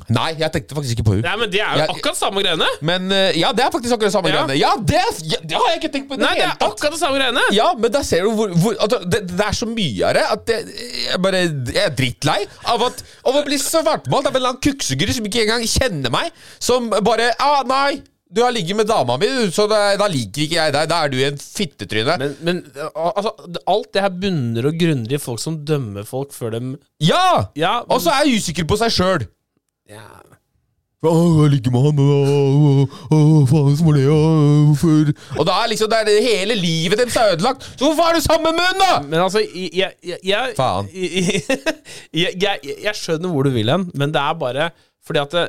Speaker 3: Nei, jeg tenkte faktisk ikke på hun
Speaker 4: Nei, men Det er jo
Speaker 3: Ja,
Speaker 4: akkurat samme greiene.
Speaker 3: Men eh, ja, det er faktisk akkurat samme
Speaker 4: Ja.
Speaker 3: greiene. Ja, det, er- ja, det har jeg ikke tenkt på i det
Speaker 4: Nei, det
Speaker 3: hele
Speaker 4: er
Speaker 3: tatt.
Speaker 4: akkurat det samme greiene.
Speaker 3: Ja, men der ser du hvor, hvor at det, det er så mye av det at det, jeg bare jeg er drittlei av, at, av å bli svartmalt av en eller annen kuksegutt som ikke engang kjenner meg, som bare ah, 'Nei, du har ligget med dama mi, du, så da, da liker ikke jeg deg. Da er du en fittetryne.'
Speaker 4: Men, men altså, det- alt det her bunner og grunner i folk som dømmer folk før dem
Speaker 3: ja!
Speaker 4: Ja, men-
Speaker 3: Og så er jeg usikker på seg sjøl.
Speaker 4: ja.
Speaker 3: Jeg ligger med han, og faen som var det, hvorfor Og da er liksom det er hele livet deres er ødelagt. Så hvorfor er du sammen med hun, da?!
Speaker 4: Men altså, jeg jeg, jeg, jeg,
Speaker 3: Faen.
Speaker 4: jeg, jeg, jeg, jeg skjønner hvor du vil hen, men det er bare fordi at det,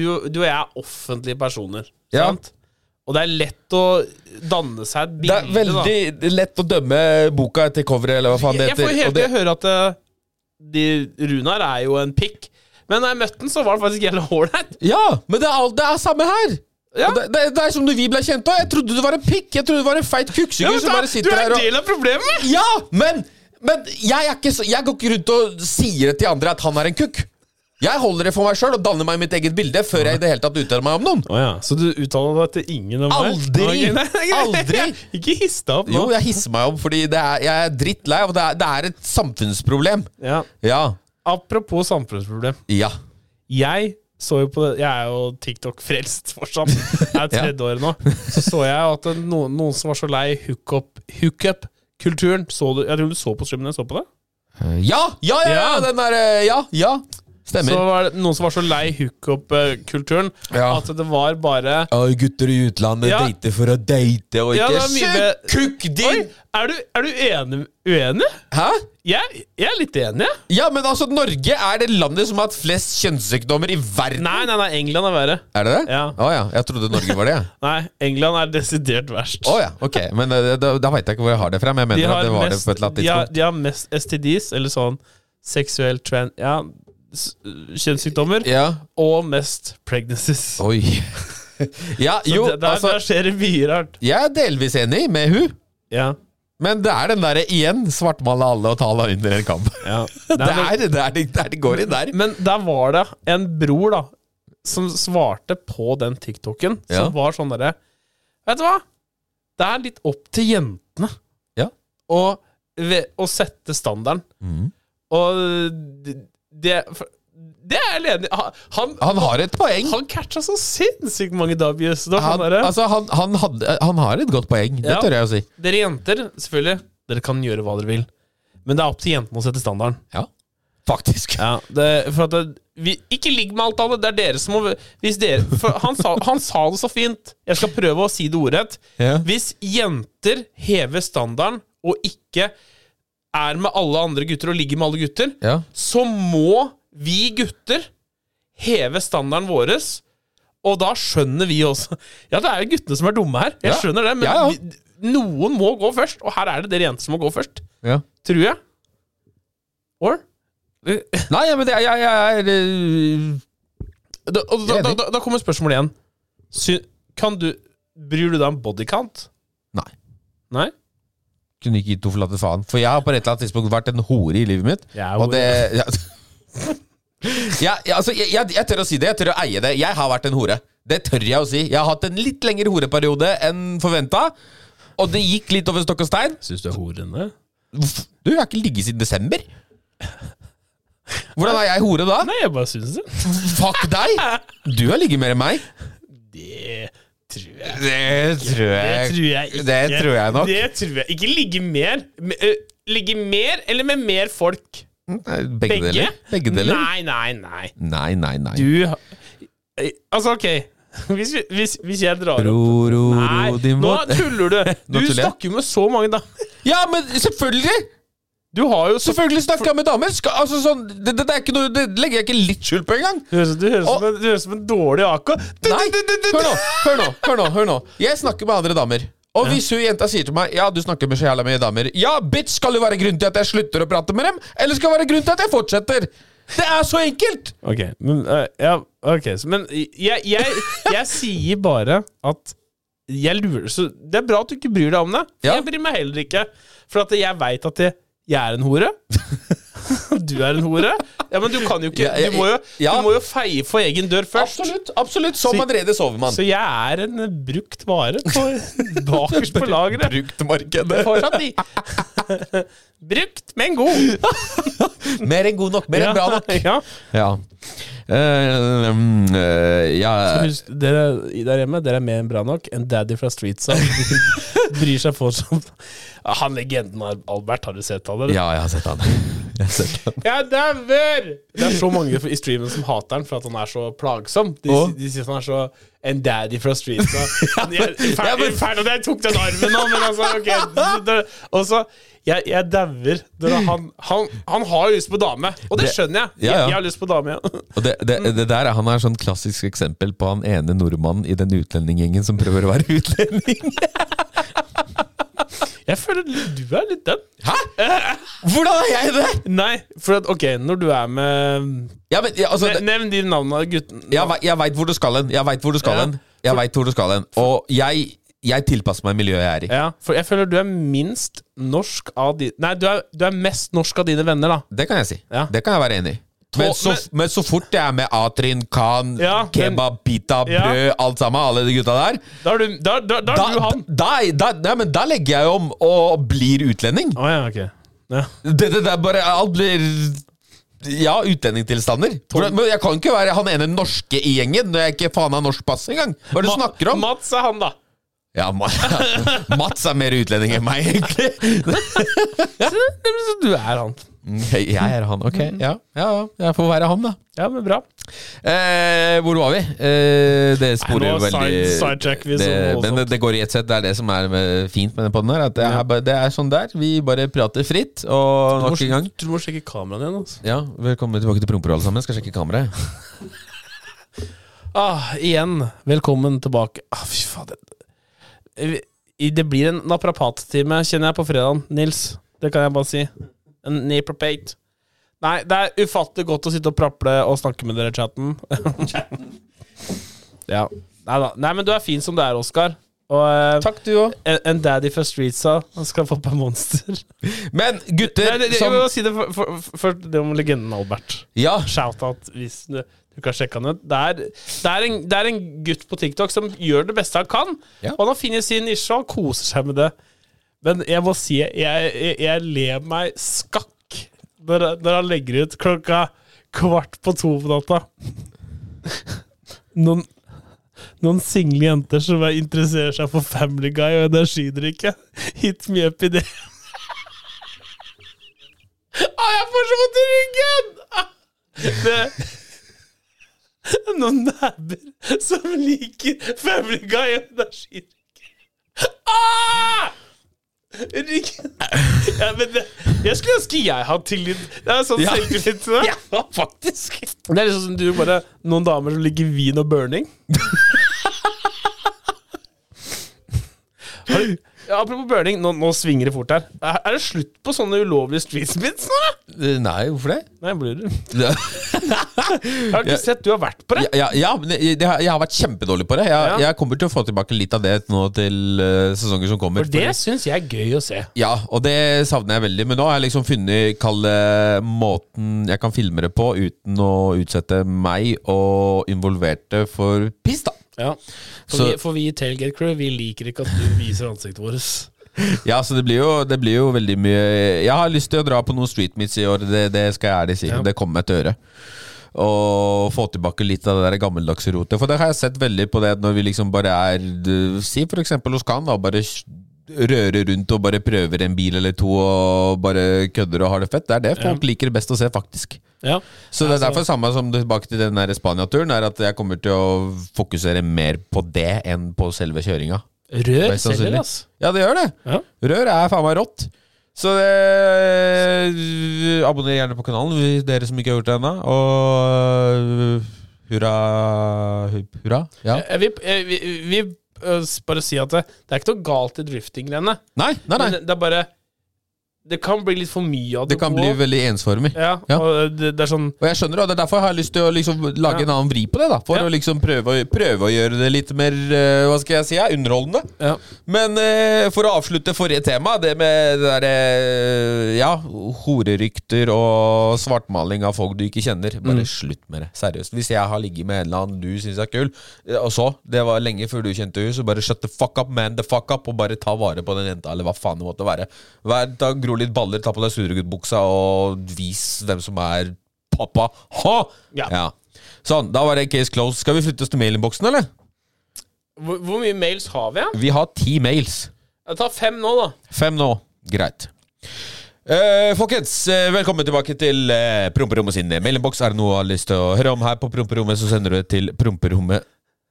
Speaker 4: du, du og jeg er offentlige personer.
Speaker 3: Ja.
Speaker 4: Sant? Og det er lett å danne seg et
Speaker 3: Det
Speaker 4: bilde.
Speaker 3: er veldig lett å dømme boka etter coveret, eller hva faen det
Speaker 4: da.
Speaker 3: heter.
Speaker 4: Jeg får hele
Speaker 3: og det-
Speaker 4: tiden høre at eh, de, Runar er jo en pikk, men da jeg møtte han, så var han faktisk jævlig ålreit.
Speaker 3: Ja, men det er, alt, det er samme her.
Speaker 4: Ja.
Speaker 3: Og Det, det, det er som når vi ble kjent òg. Jeg trodde du var en pikk. Jeg trodde du var en feit
Speaker 4: Ja,
Speaker 3: kuksegutt
Speaker 4: men
Speaker 3: som
Speaker 4: da-
Speaker 3: bare
Speaker 4: du
Speaker 3: sitter
Speaker 4: er
Speaker 3: her
Speaker 4: en
Speaker 3: og
Speaker 4: del av problemet!
Speaker 3: Ja, men, men jeg, er ikke, så- jeg går ikke rundt og sier det til andre at han er en kukk. Jeg holder det for meg sjøl og danner meg mitt eget bilde før jeg i det hele tatt uttaler meg om noen.
Speaker 4: Så du uttaler deg til ingen om
Speaker 3: meg? Aldri! Nei, nei, nei. Aldri!
Speaker 4: Ikke hiss deg opp
Speaker 3: Jo, jeg hisser meg opp fordi det er, jeg er drittlei av det. Er, det er et samfunnsproblem. Ja.
Speaker 4: Apropos samfunnsproblem.
Speaker 3: Ja.
Speaker 4: Jeg så jo på det Jeg er jo TikTok-frelst fortsatt. Det er tredje året nå. Så så jeg at det- noen, noen som var så lei hookup-kulturen så du, Jeg tror du så på streamen jeg så på det?
Speaker 3: Ja, ja, ja! ja
Speaker 4: Ja.
Speaker 3: den derre Ja, ja.
Speaker 4: Så
Speaker 3: Stemmer.
Speaker 4: var det noen som var så lei hookup-kulturen
Speaker 3: Ja.
Speaker 4: at det var bare
Speaker 3: Å, gutter i utlandet
Speaker 4: Ja.
Speaker 3: dater for å date og
Speaker 4: Ja,
Speaker 3: ikke
Speaker 4: det er mye
Speaker 3: Sjuk kukk,
Speaker 4: Oi,
Speaker 3: din!
Speaker 4: er du, er du enig, uenig?
Speaker 3: Hæ?
Speaker 4: Jeg, jeg er litt enig, jeg.
Speaker 3: Ja, men altså, Norge er det landet som har hatt flest kjønnssykdommer i verden.
Speaker 4: Nei, nei, nei, England er verre.
Speaker 3: Er det det?
Speaker 4: Ja.
Speaker 3: Å ja. Jeg trodde Norge var det. jeg.
Speaker 4: Nei, England er desidert verst.
Speaker 3: Å ja, ok. Men eh, da, da veit jeg ikke hvor jeg har det fra. Men jeg
Speaker 4: De
Speaker 3: mener
Speaker 4: har,
Speaker 3: at det var
Speaker 4: mest,
Speaker 3: det på et eller annet
Speaker 4: de, har,
Speaker 3: tidspunkt.
Speaker 4: de har mest STDs, eller sånn seksuell trend Ja, s- kjønnssykdommer.
Speaker 3: Ja.
Speaker 4: og mest pregnancies.
Speaker 3: Oi. ja,
Speaker 4: Så
Speaker 3: jo,
Speaker 4: det, der,
Speaker 3: altså
Speaker 4: der skjer det mye rart.
Speaker 3: Jeg er delvis enig med hun.
Speaker 4: Ja,
Speaker 3: Men det er den derre igjen svartmale alle og ta alle under en kamp.
Speaker 4: ja.
Speaker 3: Det
Speaker 4: Nei, men,
Speaker 3: er det er det der det går i der.
Speaker 4: men der var det en bror da som svarte på den TikToken,
Speaker 3: Ja.
Speaker 4: som var sånn derre Vet du hva? Det er litt opp til jentene
Speaker 3: Ja.
Speaker 4: å, ve- å sette standarden.
Speaker 3: Mm.
Speaker 4: Og det, det Det er jeg enig i. Han, han,
Speaker 3: Han har et poeng.
Speaker 4: han catcha så sinnssykt mange W's. Det var
Speaker 3: Han,
Speaker 4: sånn derre
Speaker 3: altså, han, han, hadde, han har et godt poeng. Det
Speaker 4: Ja.
Speaker 3: tør jeg å si.
Speaker 4: Dere jenter, selvfølgelig, dere kan gjøre hva dere vil. Men det er opp til jentene å sette standarden.
Speaker 3: Ja, faktisk.
Speaker 4: Ja, det, for at det, vi, ikke ligg med alt av det. Det er dere som må hvis dere, for han, sa, han sa det så fint. Jeg skal prøve å si det ordrett.
Speaker 3: Ja.
Speaker 4: Hvis jenter hever standarden og ikke er med alle andre gutter og ligger med alle gutter,
Speaker 3: Ja.
Speaker 4: så må vi gutter heve standarden vår. Og da skjønner vi også Ja, det er jo guttene som er dumme her. Jeg
Speaker 3: Ja.
Speaker 4: skjønner det, men
Speaker 3: Ja, ja.
Speaker 4: Vi, noen må gå først. Og her er det dere jenter som må gå først.
Speaker 3: ja.
Speaker 4: Tror jeg. Or?
Speaker 3: Nei, ja, men det, jeg, jeg er øh,
Speaker 4: Da, og da, da, da, da kommer spørsmålet igjen. Sy, kan du Bryr du deg om bodycount?
Speaker 3: Nei.
Speaker 4: Nei?
Speaker 3: kunne ikke gitt to flate faen. For jeg har på et eller annet tidspunkt vært en hore i livet mitt.
Speaker 4: Jeg er
Speaker 3: og
Speaker 4: hore.
Speaker 3: det ja. Ja, ja, altså, jeg, jeg, jeg tør å si det. Jeg tør å eie det. Jeg har vært en hore. Det tør jeg å si. Jeg har hatt en litt lengre horeperiode enn forventa. Og det gikk litt over stokk og stein.
Speaker 4: Syns du er horende?
Speaker 3: Du, jeg har ikke ligget siden desember. Hvordan er jeg hore da?
Speaker 4: Nei, jeg bare syns det.
Speaker 3: Fuck deg! Du har ligget mer enn meg.
Speaker 4: Det tror jeg
Speaker 3: Det tror
Speaker 4: Det
Speaker 3: jeg,
Speaker 4: tror jeg ikke.
Speaker 3: det tror jeg nok.
Speaker 4: Det tror jeg. Ikke ligge mer. Men, ø, Ligge mer, eller med mer folk?
Speaker 3: Nei, Begge,
Speaker 4: Begge?
Speaker 3: deler. Begge deler.
Speaker 4: Nei, nei, nei.
Speaker 3: Nei, nei, nei.
Speaker 4: Du ha- Eh, Altså, OK. Hvis, vi- hvis, hvis jeg drar opp
Speaker 3: Ro, ro,
Speaker 4: Nei,
Speaker 3: ro, din
Speaker 4: nå
Speaker 3: våt.
Speaker 4: tuller du.
Speaker 3: Nå
Speaker 4: Du
Speaker 3: tuller jeg.
Speaker 4: snakker jo med så mange, da.
Speaker 3: Ja, men selvfølgelig!
Speaker 4: Du har jo så
Speaker 3: Selvfølgelig snakka jeg med damer! Skal, altså, sånn, det, det, det, er ikke noe, det legger jeg ikke litt skjul på engang!
Speaker 4: Du høres, du høres, som, en, du høres som en dårlig AK. Du,
Speaker 3: Nei!
Speaker 4: du, du, du, du.
Speaker 3: Hør nå, hør nå, hør nå, hør nå. Jeg snakker med andre damer. Og hvis hun jenta sier til meg Ja, du snakker med så jævla mye damer Ja, bitch, skal det være grunn til at jeg slutter å prate med dem? Eller skal det være grunn til at jeg fortsetter? Det er så enkelt!
Speaker 4: Ok, men, eh, ja, ok, så, men jeg, jeg, jeg sier bare at jeg lurer så Det er bra at du ikke bryr deg om det. for
Speaker 3: Ja.
Speaker 4: Jeg bryr meg heller ikke. For at jeg veit at jeg, jeg er en hore. Du er en hore. Ja, Men du kan jo ikke
Speaker 3: Ja, jeg-
Speaker 4: Du må jo,
Speaker 3: ja.
Speaker 4: du må jo feie for egen dør først.
Speaker 3: Absolutt. absolutt Som
Speaker 4: Så-
Speaker 3: allerede sover man.
Speaker 4: Så jeg er en eh, brukt vare på, bakerst på lageret.
Speaker 3: Bruktmarkedet.
Speaker 4: Fortsatt i. Brukt, men god.
Speaker 3: Mer enn god nok. Mer enn bra nok.
Speaker 4: Ja.
Speaker 3: Ja. Eh, um, eh, ja.
Speaker 4: Husk, dere der hjemme, dere er mer enn bra nok. En daddy fra Streets som bryr seg fortsatt. Ja, Han legenden Al- Albert, har du sett han? eller?
Speaker 3: ja, jeg har sett han. Jeg har sett han.
Speaker 4: Jeg dauer! Det er så mange i streamen som hater han for at han er så plagsom. De,
Speaker 3: Å?
Speaker 4: de sier at han er så en daddy fra Streets. Og, jeg,
Speaker 3: ja,
Speaker 4: fer,
Speaker 3: men-
Speaker 4: Ferdig at jeg tok den armen nå, men altså, ok. Det- det- Og så, jeg, jeg dauer. Det er Han, han, han har jo lyst på dame, og det
Speaker 3: Det-
Speaker 4: skjønner
Speaker 3: ja,
Speaker 4: jeg.
Speaker 3: ja.
Speaker 4: Jeg, jeg har lyst på dame, ja.
Speaker 3: Og det, det, det der er, han er sånn klassisk eksempel på han ene nordmannen i den utlendinggjengen som prøver å være utlending.
Speaker 4: Jeg føler du er litt den.
Speaker 3: Hæ? Hvordan er jeg det?!
Speaker 4: Nei, for at, ok, når du er med
Speaker 3: Ja, men, ja, altså,
Speaker 4: Ne-
Speaker 3: det,
Speaker 4: Nevn de navnene av gutten.
Speaker 3: jeg, vei- jeg veit hvor du skal hen. Jeg veit hvor du skal
Speaker 4: Ja.
Speaker 3: hen. Jeg vet hvor du skal hen. Og jeg, jeg tilpasser meg miljøet jeg er i.
Speaker 4: Ja, for jeg føler du er minst norsk av de Nei, du er, du er mest norsk av dine venner, da.
Speaker 3: Det kan jeg si.
Speaker 4: Ja.
Speaker 3: Det kan jeg være enig i. Men
Speaker 4: Og-
Speaker 3: så, men så fort jeg er med Atrin, Khan,
Speaker 4: Ja, men-
Speaker 3: kebab, pita,
Speaker 4: Ja.
Speaker 3: brød, alt sammen, alle de gutta der
Speaker 4: Da er du, da, da, da er
Speaker 3: da,
Speaker 4: du han.
Speaker 3: da, da, nei, men da legger jeg om og blir utlending.
Speaker 4: Å ja, ok. Ja.
Speaker 3: Det, det, det er bare Alt blir ja, utlendingtilstander. Hvordan- Men jeg kan ikke være han ene norske i gjengen når jeg ikke faen har norsk pass engang. Hva er det du snakker om?
Speaker 4: Mats er han, da.
Speaker 3: Ja, Ma Mats er mer utlending enn meg, egentlig. Mm,
Speaker 4: Så du er han.
Speaker 3: Jeg er han, ok.
Speaker 4: Mm.
Speaker 3: Ja, ja, jeg får være han, da.
Speaker 4: Ja, men bra.
Speaker 3: Eh, hvor var vi? Eh, det sporer
Speaker 4: Nei,
Speaker 3: jo
Speaker 4: nå
Speaker 3: veldig
Speaker 4: side- sidetrack vi
Speaker 3: det,
Speaker 4: så voldsomt.
Speaker 3: Men det går i ett sett. Det er det som er eh, fint med den podden her. At det, er, bare- det er sånn der. Vi bare prater fritt. Og nok en gang
Speaker 4: Du må sjekke kameraet igjen. Altså.
Speaker 3: Ja, Velkommen tilbake til promperollen alle sammen. Skal sjekke kameraet.
Speaker 4: Ah, igjen, velkommen tilbake. Ah, fy fader. Vi- i- Det blir en naprapat-time, kjenner jeg, på fredagen, Nils. Det kan jeg bare si. En naprapat. Nei, det er ufattelig godt å sitte og praple og snakke med dere i chatten. ja. Nei da. Nei, men du er fin som du er, Oskar. Og eh,
Speaker 3: Takk, du òg.
Speaker 4: en, en daddy fra Streetsa han skal få på en monster.
Speaker 3: Men gutter
Speaker 4: Nei, det, det, jeg
Speaker 3: som
Speaker 4: må si det for- for- for- først, det om legenden Albert.
Speaker 3: Ja,
Speaker 4: Shoutout hvis du, du kan sjekke han ut. Det er, det, er en, det er en gutt på TikTok som gjør det beste han kan.
Speaker 3: Ja.
Speaker 4: Og han har funnet sin nisje, og han koser seg med det. Men jeg må si, jeg, jeg, jeg ler meg skakk når, når han legger ut klokka kvart på to på natta. Noen, noen single jenter som er- interesserer seg for Family Guy og energidrikke. Hit me up i det. Å, Ah, jeg får så vondt i ryggen! Ah. Det noen næber som liker Family Guy og energidrikk. Ah! Ryggen ja, men det, Jeg skulle ønske jeg hadde tillit. Det er sånn
Speaker 3: Ja.
Speaker 4: selvtillit til det.
Speaker 3: ja faktisk.
Speaker 4: Det er liksom som du bare Noen damer som liker vin og burning. Har du- Ja, apropos burning, nå, nå svinger det fort her. Er, er det slutt på sånne ulovlige streetsbits nå? da?
Speaker 3: Eh, Nei, hvorfor det?
Speaker 4: Nei, blir det?
Speaker 3: Ja,
Speaker 4: Jeg har ikke sett du har vært på det.
Speaker 3: ja, ja men jeg, jeg har- jeg har vært kjempedårlig på det. Jeg,
Speaker 4: Ja.
Speaker 3: jeg kommer til å få tilbake litt av det nå til eh, sesonger som kommer.
Speaker 4: For det syns jeg er gøy å se.
Speaker 3: Ja, og det savner jeg veldig. Men nå har jeg liksom funnet kalle måten jeg kan filme det på uten å utsette meg og involverte for piss, da.
Speaker 4: Ja. For,
Speaker 3: Så-
Speaker 4: vi, for vi i Tailgate Crew, vi liker ikke at du viser ansiktet vårt.
Speaker 3: Ja, så det blir, jo, det blir jo veldig mye Jeg har lyst til å dra på noen street meets i år, det, det skal jeg ærlig si. Det kommer jeg til å gjøre. Og få tilbake litt av det der gammeldagse rotet. For det har jeg sett veldig på det når vi liksom bare er du, Si for eksempel hos Kan, da. Bare s- røre rundt og bare prøver en bil eller to og bare kødder og har det fett. Det er det folk liker best å se, faktisk.
Speaker 4: Ja.
Speaker 3: Så det er derfor samme som tilbake til den der Spania-turen, er at jeg kommer til å fokusere mer på det enn på selve kjøringa.
Speaker 4: Rør
Speaker 3: Mest sannsynlig.
Speaker 4: selger, ass.
Speaker 3: Ja, det gjør det!
Speaker 4: Ja.
Speaker 3: Rør er faen meg rått. Så det Abonner gjerne på kanalen, vi- dere som ikke har gjort det ennå. Og hurra hup- Hurra? Ja.
Speaker 4: Jeg vil, jeg, Eh, vi, vi øh, s- bare si at det, det er ikke noe galt i drifting-greiene.
Speaker 3: Nei, nei,
Speaker 4: Men
Speaker 3: nei.
Speaker 4: det, det er bare Det kan bli litt for mye av
Speaker 3: Det
Speaker 4: det,
Speaker 3: kan
Speaker 4: gode.
Speaker 3: bli veldig ensformig.
Speaker 4: ja,
Speaker 3: Ja.
Speaker 4: Og det, det er sånn
Speaker 3: Og jeg skjønner det, og det er derfor jeg har lyst til å liksom lage
Speaker 4: Ja.
Speaker 3: en annen vri på det. da For
Speaker 4: Ja.
Speaker 3: å liksom prøve, å- prøve å gjøre det litt mer eh, Hva skal jeg si? ja, Underholdende.
Speaker 4: ja.
Speaker 3: Men eh, for å avslutte forrige tema, det med det derre eh, Ja, horerykter og svartmaling av folk du ikke kjenner. Bare slutt med det. Seriøst. Hvis jeg har ligget med en eller annen du syns er kul, eh, og så Det var lenge før du kjente henne, så bare shut the fuck up, man the fuck up, og bare ta vare på den jenta, eller hva faen det måtte være. Vær, ta, gro litt baller, ta på deg surreguttbuksa, og vis hvem som er pappa. Ha!
Speaker 4: Ja.
Speaker 3: Sånn, da var det case closed. Skal vi flytte oss til mailinnboksen, eller?
Speaker 4: hvor, hvor mye mails har vi igjen?
Speaker 3: Vi har ti mails.
Speaker 4: Jeg tar fem nå, da.
Speaker 3: Fem nå. Greit. Eh, folkens, eh, velkommen tilbake til uh, Promperommet sin mailinnboks. Er det noe du har lyst til å høre om her på Promperommet, så sender du det til Promperommet.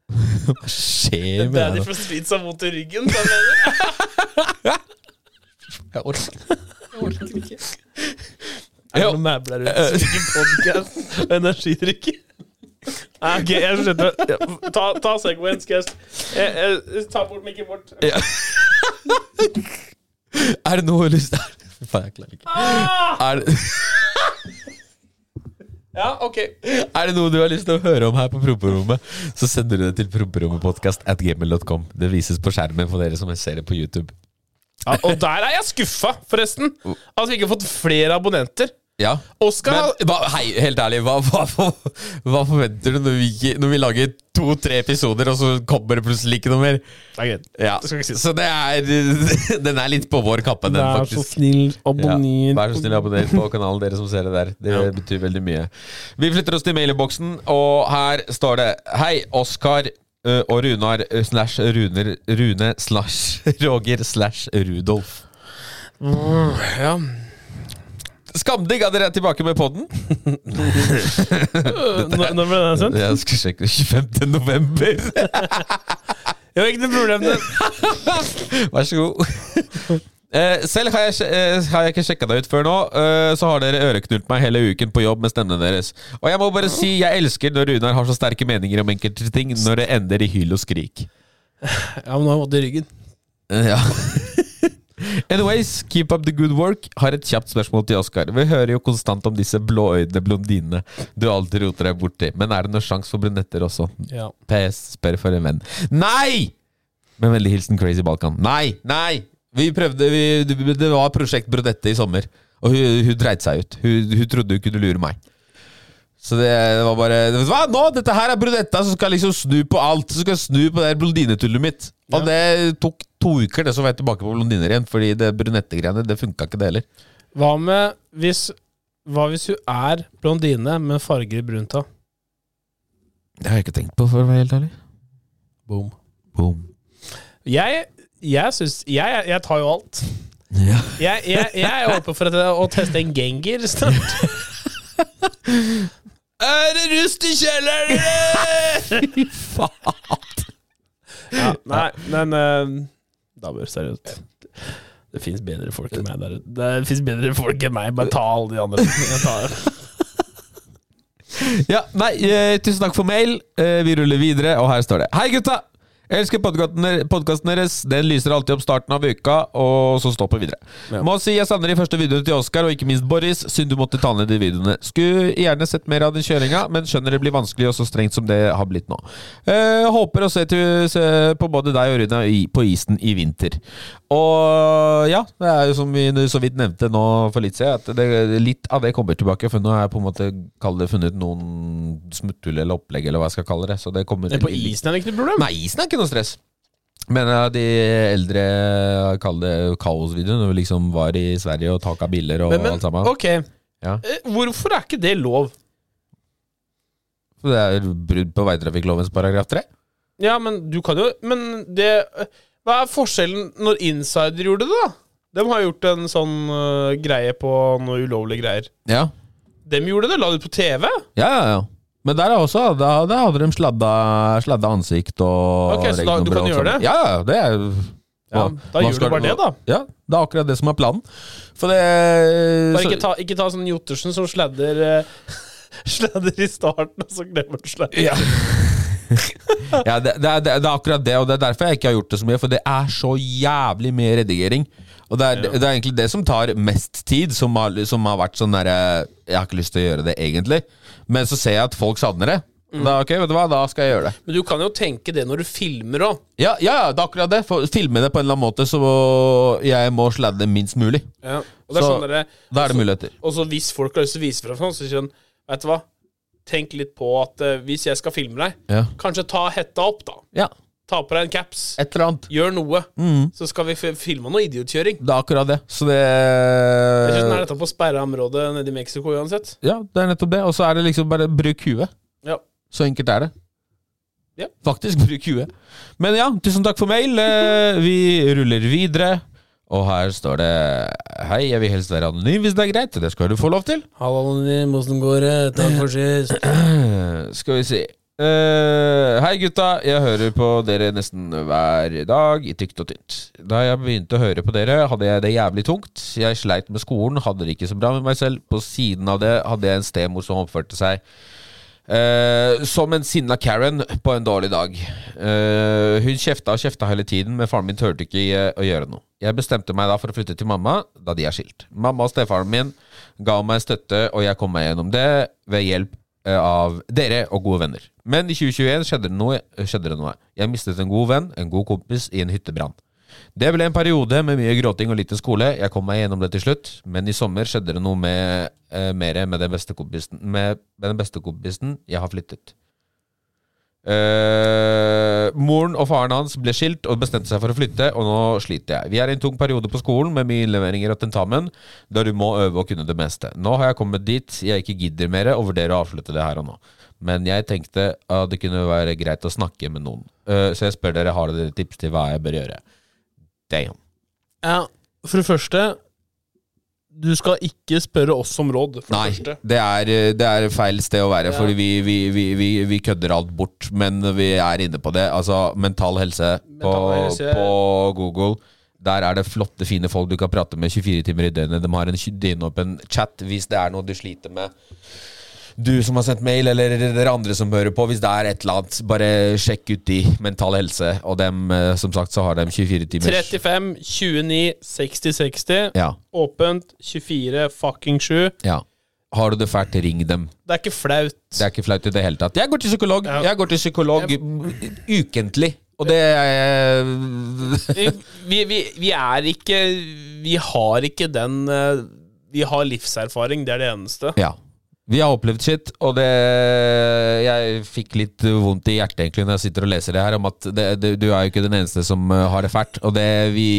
Speaker 3: Hva skjer med deg
Speaker 4: Daddy
Speaker 3: nå?
Speaker 4: fra Streets har vondt i ryggen. sa jeg.
Speaker 3: Jeg orker-
Speaker 4: Er det
Speaker 3: Ja.
Speaker 4: noen mæbler ute som ikke podcast og energidrikk? Nei, Ah, ok, jeg skjønner. Ja, Ta, ta Segwayen, skal jeg, jeg, jeg eh, Ta bort mikken bort.
Speaker 3: Er det noe du har lyst til Faen, jeg klarer ikke.
Speaker 4: Ah!
Speaker 3: Er det,
Speaker 4: Ja, ok.
Speaker 3: er det noe du har lyst til å høre om her på Promperommet, så sender du det til promperommetpodkast at gmail.com. Det vises på skjermen for dere som ser det på YouTube.
Speaker 4: Ja, og der er jeg skuffa, forresten. At vi ikke har fått flere abonnenter.
Speaker 3: Ja
Speaker 4: Oskar
Speaker 3: Men hva, hei, helt ærlig, hva, hva, for- hva forventer du når vi, ikke- når vi lager to-tre episoder, og så kommer det plutselig ikke noe mer? Ja.
Speaker 4: Det skal ikke sies.
Speaker 3: Så det er Den er litt på vår kappe, den, faktisk.
Speaker 4: snill,
Speaker 3: Ja, vær så snill, abonner på kanalen, dere som ser det der. Det betyr veldig mye. Vi flytter oss til mailboksen, og her står det Hei, Oskar ø, og Runar ø, slash Runer Rune slash Roger slash Rudolf.
Speaker 4: Ja.
Speaker 3: Skamdigg at dere er tilbake med podden.
Speaker 4: Når når ble den sendt?
Speaker 3: Jeg skal sjekke 25. november.
Speaker 4: Jo, ikke noe problem. det.
Speaker 3: Vær så god. Eh, Selv har jeg, sj- eh, har jeg ikke sjekka deg ut før nå, eh, så har dere øreknult meg hele uken på jobb med stemmene deres. Og jeg må bare si jeg elsker når Runar har så sterke meninger om enkelte ting, når det ender i hyl og skrik.
Speaker 4: Ja, men nå har jeg vondt i ryggen.
Speaker 3: Eh, Ja Anyways, keep up the good work. Har et kjapt spørsmål til Oskar. Vi hører jo konstant om disse blåøyde blondinene du alltid roter deg borti. Men er det noen sjanse for brunetter også?
Speaker 4: Ja.
Speaker 3: PS spør for en venn. Nei! Med vennlig hilsen Crazy Balkan. Nei! Nei! Vi prøvde vi, Det det var Prosjekt Brodette i sommer, og hun, hun dreit seg ut. Hun, hun trodde hun kunne lure meg. Så det, det var bare Vet du hva, nå! Dette her er Brodetta som skal liksom snu på alt. Som skal snu på det her blondinetullet mitt. Og det tok to uker, det som var jeg tilbake på blondiner igjen. Fordi det brunettegreiene, det funka ikke, det heller.
Speaker 4: Hva med hvis Hva hvis hun er blondine, men farger i brunt av?
Speaker 3: Det har jeg ikke tenkt på, for å være helt ærlig.
Speaker 4: Boom.
Speaker 3: Boom.
Speaker 4: Jeg, jeg syns jeg, jeg tar jo alt.
Speaker 3: Ja.
Speaker 4: Jeg, jeg, jeg er åpen for at, å teste en genger snart.
Speaker 3: Er det rust i kjelleren?! Fy faen.
Speaker 4: Ja, nei, men eh, Damer, seriøst. Det fins bedre folk enn meg der ute. Det fins bedre folk enn meg. Bare ta alle de andre. Jeg tar.
Speaker 3: Ja, nei, eh, tusen takk for mail. Eh, vi ruller videre, og her står det. Hei, gutta! Jeg elsker podkasten deres. Den lyser alltid opp starten av uka, og så stopper videre. Må si jeg savner de første videoene til Oskar, og ikke minst Boris. Synd du måtte ta ned de videoene. Skulle gjerne sett mer av den kjøringa, men skjønner det blir vanskelig og så strengt som det har blitt nå. Eh, håper å se, til, se på både deg og Runa i, på isen i vinter. Og ja, det er jo som vi så vidt nevnte nå for litt siden, at det, litt av det kommer tilbake. For nå har jeg på en måte kall det, funnet noen smutthull eller opplegg, eller hva jeg skal kalle det. Så det kommer
Speaker 4: På
Speaker 3: til-
Speaker 4: isen er det ikke noe problem.
Speaker 3: Nei, isen er ikke noe stress. Men ja, de eldre kaller det kaosvideoen, når vi liksom var i Sverige og taka biler og
Speaker 4: Men, men
Speaker 3: alt sammen.
Speaker 4: ok,
Speaker 3: Ja.
Speaker 4: Eh, hvorfor er ikke det lov?
Speaker 3: Så Det er brudd på veitrafikklovens paragraf 3.
Speaker 4: Ja, men du kan jo Men det Hva er forskjellen når Insider gjorde det, da? De har gjort en sånn øh, greie på noe ulovlige greier.
Speaker 3: Ja.
Speaker 4: Dem gjorde det, la det ut på TV.
Speaker 3: Ja, ja, ja. Men der er også, da, da hadde de sladda, sladda ansikt og
Speaker 4: Ok, så da- du
Speaker 3: regnummer
Speaker 4: kan
Speaker 3: og alt
Speaker 4: gjøre
Speaker 3: sammen.
Speaker 4: det?
Speaker 3: Ja, ja, det er jo
Speaker 4: Ja,
Speaker 3: hva-
Speaker 4: da
Speaker 3: hva
Speaker 4: gjør
Speaker 3: skal
Speaker 4: du bare det, da.
Speaker 3: Ja, det er akkurat det som er planen. For det
Speaker 4: Bare
Speaker 3: så-
Speaker 4: ikke ta, ikke ta sånn Jottersen som sladder øh, Sladder i starten, og så glemmer han sladder.
Speaker 3: Ja, ja det, det, er- det, er- det er akkurat det, og det er derfor jeg ikke har gjort det så mye. For det er så jævlig mye redigering. Og det er, det er egentlig det som tar mest tid, som har, som har vært sånn derre Jeg har ikke lyst til å gjøre det, egentlig. Men så ser jeg at folk savner det. Da, ok, vet du hva, da skal jeg gjøre det.
Speaker 4: Men du kan jo tenke det når du filmer òg.
Speaker 3: Ja, ja, ja, det er akkurat det. For, filme det på en eller annen måte, så jeg må sladde minst mulig.
Speaker 4: Og det er
Speaker 3: Så-
Speaker 4: sånn dere
Speaker 3: Da er det muligheter.
Speaker 4: Og så hvis folk har lyst til å vise fra sånn, så sier han Vet du hva, tenk litt på at eh, hvis jeg skal filme deg,
Speaker 3: Ja.
Speaker 4: kanskje ta hetta opp, da.
Speaker 3: ja.
Speaker 4: Ta på deg en caps.
Speaker 3: Et eller annet.
Speaker 4: Gjør noe. Så skal vi f filme noe idiotkjøring.
Speaker 3: Mm. Det er akkurat det. Så det
Speaker 4: Jeg synes den er dette på sperra område nede i Mexico uansett.
Speaker 3: Ja, det er nettopp det. Og så er det liksom bare bruk huet.
Speaker 4: Ja.
Speaker 3: Så enkelt er det.
Speaker 4: Ja.
Speaker 3: Faktisk bruk huet. Men ja, tusen takk for mail. Eh, Vi ruller videre. Og her står det Hei, jeg vil helst være anonym hvis det er greit. Det skal du få lov til.
Speaker 4: Hallo, åssen går det? Takk for sist.
Speaker 3: Eh, Skal vi se. Eh, hei, gutta. Jeg hører på dere nesten hver dag, i tykt og tynt. Da jeg begynte å høre på dere, hadde jeg det jævlig tungt. Jeg sleit med skolen, hadde det ikke så bra med meg selv. På siden av det hadde jeg en stemor som oppførte seg eh, som en sinna Karen på en dårlig dag. Eh, hun kjefta og kjefta hele tiden, men faren min turte ikke eh, å gjøre noe. Jeg bestemte meg da for å flytte til mamma, da de er skilt. Mamma og stefaren min ga meg støtte, og jeg kom meg gjennom det ved hjelp eh, av dere og gode venner. Men i 2021 skjedde det noe. Skjedde det noe. Jeg mistet en god venn, en god kompis, i en hyttebrann. Det ble en periode med mye gråting og lite skole. Jeg kom meg gjennom det til slutt, men i sommer skjedde det noe med, eh, mer med den beste kompisen med, med den beste kompisen jeg har flyttet. Eh, moren og faren hans ble skilt og bestemte seg for å flytte, og nå sliter jeg. Vi er i en tung periode på skolen med mye innleveringer og tentamen, der du må øve og kunne det meste. Nå har jeg kommet dit jeg ikke gidder mer, og vurderer å avslutte det her og nå. Men jeg tenkte at det kunne være greit å snakke med noen. Eh, så jeg spør dere, har dere tips til hva jeg bør gjøre? Damn.
Speaker 4: Ja, for det første Du skal ikke spørre oss om råd, for
Speaker 3: Nei,
Speaker 4: det første.
Speaker 3: det er, eh, det er feil sted å være, Fordi vi, vi, vi, vi, vi kødder alt bort. Men vi er inne på det. Altså, mental helse på,
Speaker 4: Mental helse.
Speaker 3: på Google. Der er det flotte, fine folk du kan prate med 24 timer i døgnet. De har en ky- døgnåpen chat hvis det er noe du sliter med. Du som har sendt mail, eller dere andre som hører på, hvis det er et eller annet, bare sjekk ut de Mental Helse. Og dem, eh, som sagt, så har de 24 timer
Speaker 4: 35, 29, 60, 60.
Speaker 3: Ja,
Speaker 4: Åpent. 24 fucking 7.
Speaker 3: ja. Har du det fælt, ring dem.
Speaker 4: Det er ikke flaut.
Speaker 3: Det er ikke flaut i det hele tatt. Jeg går til psykolog
Speaker 4: Ja.
Speaker 3: Jeg går til psykolog ukentlig. Og det er
Speaker 4: vi, vi, vi, vi er ikke Vi har ikke den eh, Vi har livserfaring, det er det eneste.
Speaker 3: Ja. Vi har opplevd shit, og det Jeg fikk litt vondt i hjertet egentlig når jeg sitter og leser det her, om at det, det, du er jo ikke den eneste som eh, har det fælt. Og det vi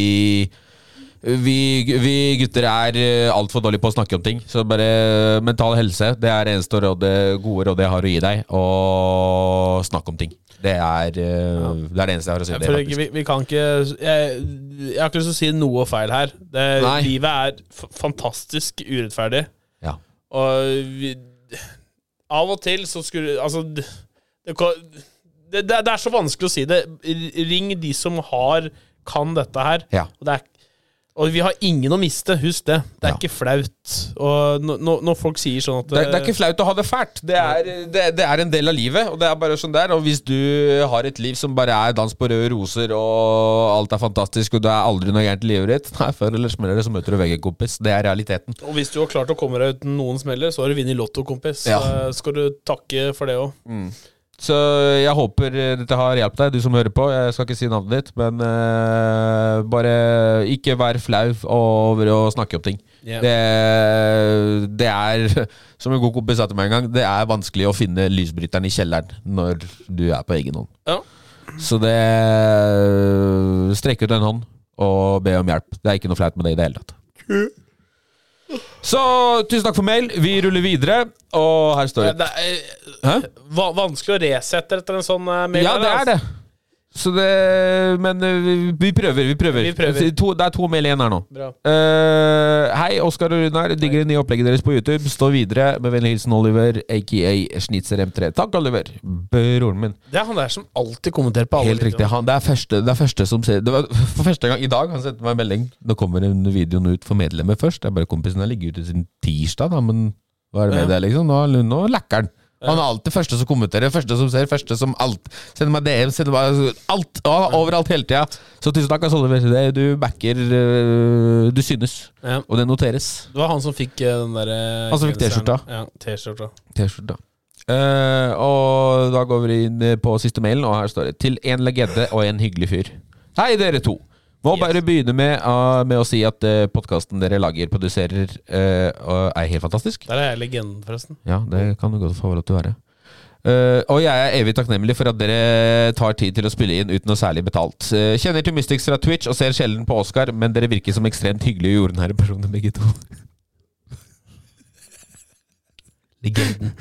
Speaker 3: vi, vi gutter er altfor dårlige på å snakke om ting. Så bare eh, mental helse. Det er det eneste rådet, gode rådet jeg har å gi deg. Og snakk om ting. Det er eh, det, er det eneste jeg har å si. om
Speaker 4: Jeg
Speaker 3: det,
Speaker 4: føler
Speaker 3: faktisk.
Speaker 4: ikke, vi, vi kan ikke jeg, jeg har ikke lyst til å si noe feil her. Det,
Speaker 3: Nei.
Speaker 4: livet er f fantastisk urettferdig.
Speaker 3: Ja.
Speaker 4: Og vi, av og til så skulle Altså d- det, kan- det, det, det er så vanskelig å si det. R- Ring de som har kan dette her.
Speaker 3: Ja.
Speaker 4: Og, det er, og vi har ingen å miste, husk det. Det er
Speaker 3: Ja.
Speaker 4: ikke flaut. Og når, når- når folk sier sånn at
Speaker 3: Det, det er ikke flaut å ha det fælt. Det er, det, det er en del av livet. Og det er bare sånn der Og hvis du har et liv som bare er dans på røde roser, og alt er fantastisk, og det er aldri noe gærent i livet ditt Nei, før eller smeller det, så møter du veggen, kompis. Det er realiteten.
Speaker 4: eh, Og hvis du har klart å komme deg uten noen smeller, så har du vunnet Lotto, kompis.
Speaker 3: Ja.
Speaker 4: Så eh, skal du takke for det òg.
Speaker 3: Så jeg håper eh, dette har hjulpet deg, du som hører på. Jeg skal ikke si navnet ditt, men eh, bare ikke vær flau over å snakke om ting.
Speaker 4: Ja.
Speaker 3: Det, det er, som en god kompis sa til meg en gang, det er vanskelig å finne lysbryteren i kjelleren når du er på egen hånd.
Speaker 4: Ja.
Speaker 3: Så det Strekk ut en hånd og be om hjelp. Det er ikke noe flaut med det i det hele tatt. Så tusen takk for mail. Vi ruller videre, og her står det.
Speaker 4: Eh, Det er eh,
Speaker 3: Hæ?
Speaker 4: va vanskelig å resette etter en sånn eh, mail.
Speaker 3: Ja, det er det. Så det Men eh, vi, vi prøver. Vi prøver.
Speaker 4: Vi prøver.
Speaker 3: To, det er to mail igjen her nå.
Speaker 4: Bra.
Speaker 3: Eh, hei, Oskar og Runar. Digger det nye opplegget deres på YouTube. Stå videre. Med vennlig hilsen Oliver, aka Schnitzer M3. Takk, Oliver. Broren min.
Speaker 4: Det er han der som alltid kommenterer på alle
Speaker 3: Helt riktig. Han, det, er første, det er første som ser Det var for første gang i dag han sendte meg en melding. Nå kommer en videoen ut for medlemmer først. Det er bare kompisen har ligget ute siden tirsdag, da, men hva er det med det, liksom? Nå, er- nå lakker han. Han er alltid første som kommenterer, første som ser, første som alt. Sender meg DM, sender meg alt. og han er Overalt hele tida. Så tusen takk, altså, Oliver. Det- Du backer øh, Du synes.
Speaker 4: Ja.
Speaker 3: Og det noteres.
Speaker 4: Det var han som fikk eh, den derre
Speaker 3: Han som fikk T-skjorta.
Speaker 4: Ja, T-skjorta.
Speaker 3: T-skjorta. Eh, og da går vi inn eh, på siste mailen, og her står det 'Til en legende og en hyggelig fyr'. Hei, dere to. Må bare begynne med, ah, med å si at uh, podkasten dere lager, produserer, eh, og er helt fantastisk.
Speaker 4: Der er jeg legenden, forresten.
Speaker 3: Ja, det kan du godt få lov til å være. Eh, og jeg er evig takknemlig for at dere tar tid til å spille inn uten noe særlig betalt. Eh, kjenner til Mystics fra Twitch og ser sjelden på Oscar, men dere virker som ekstremt hyggelige og jordnære personer, begge to. Legenden.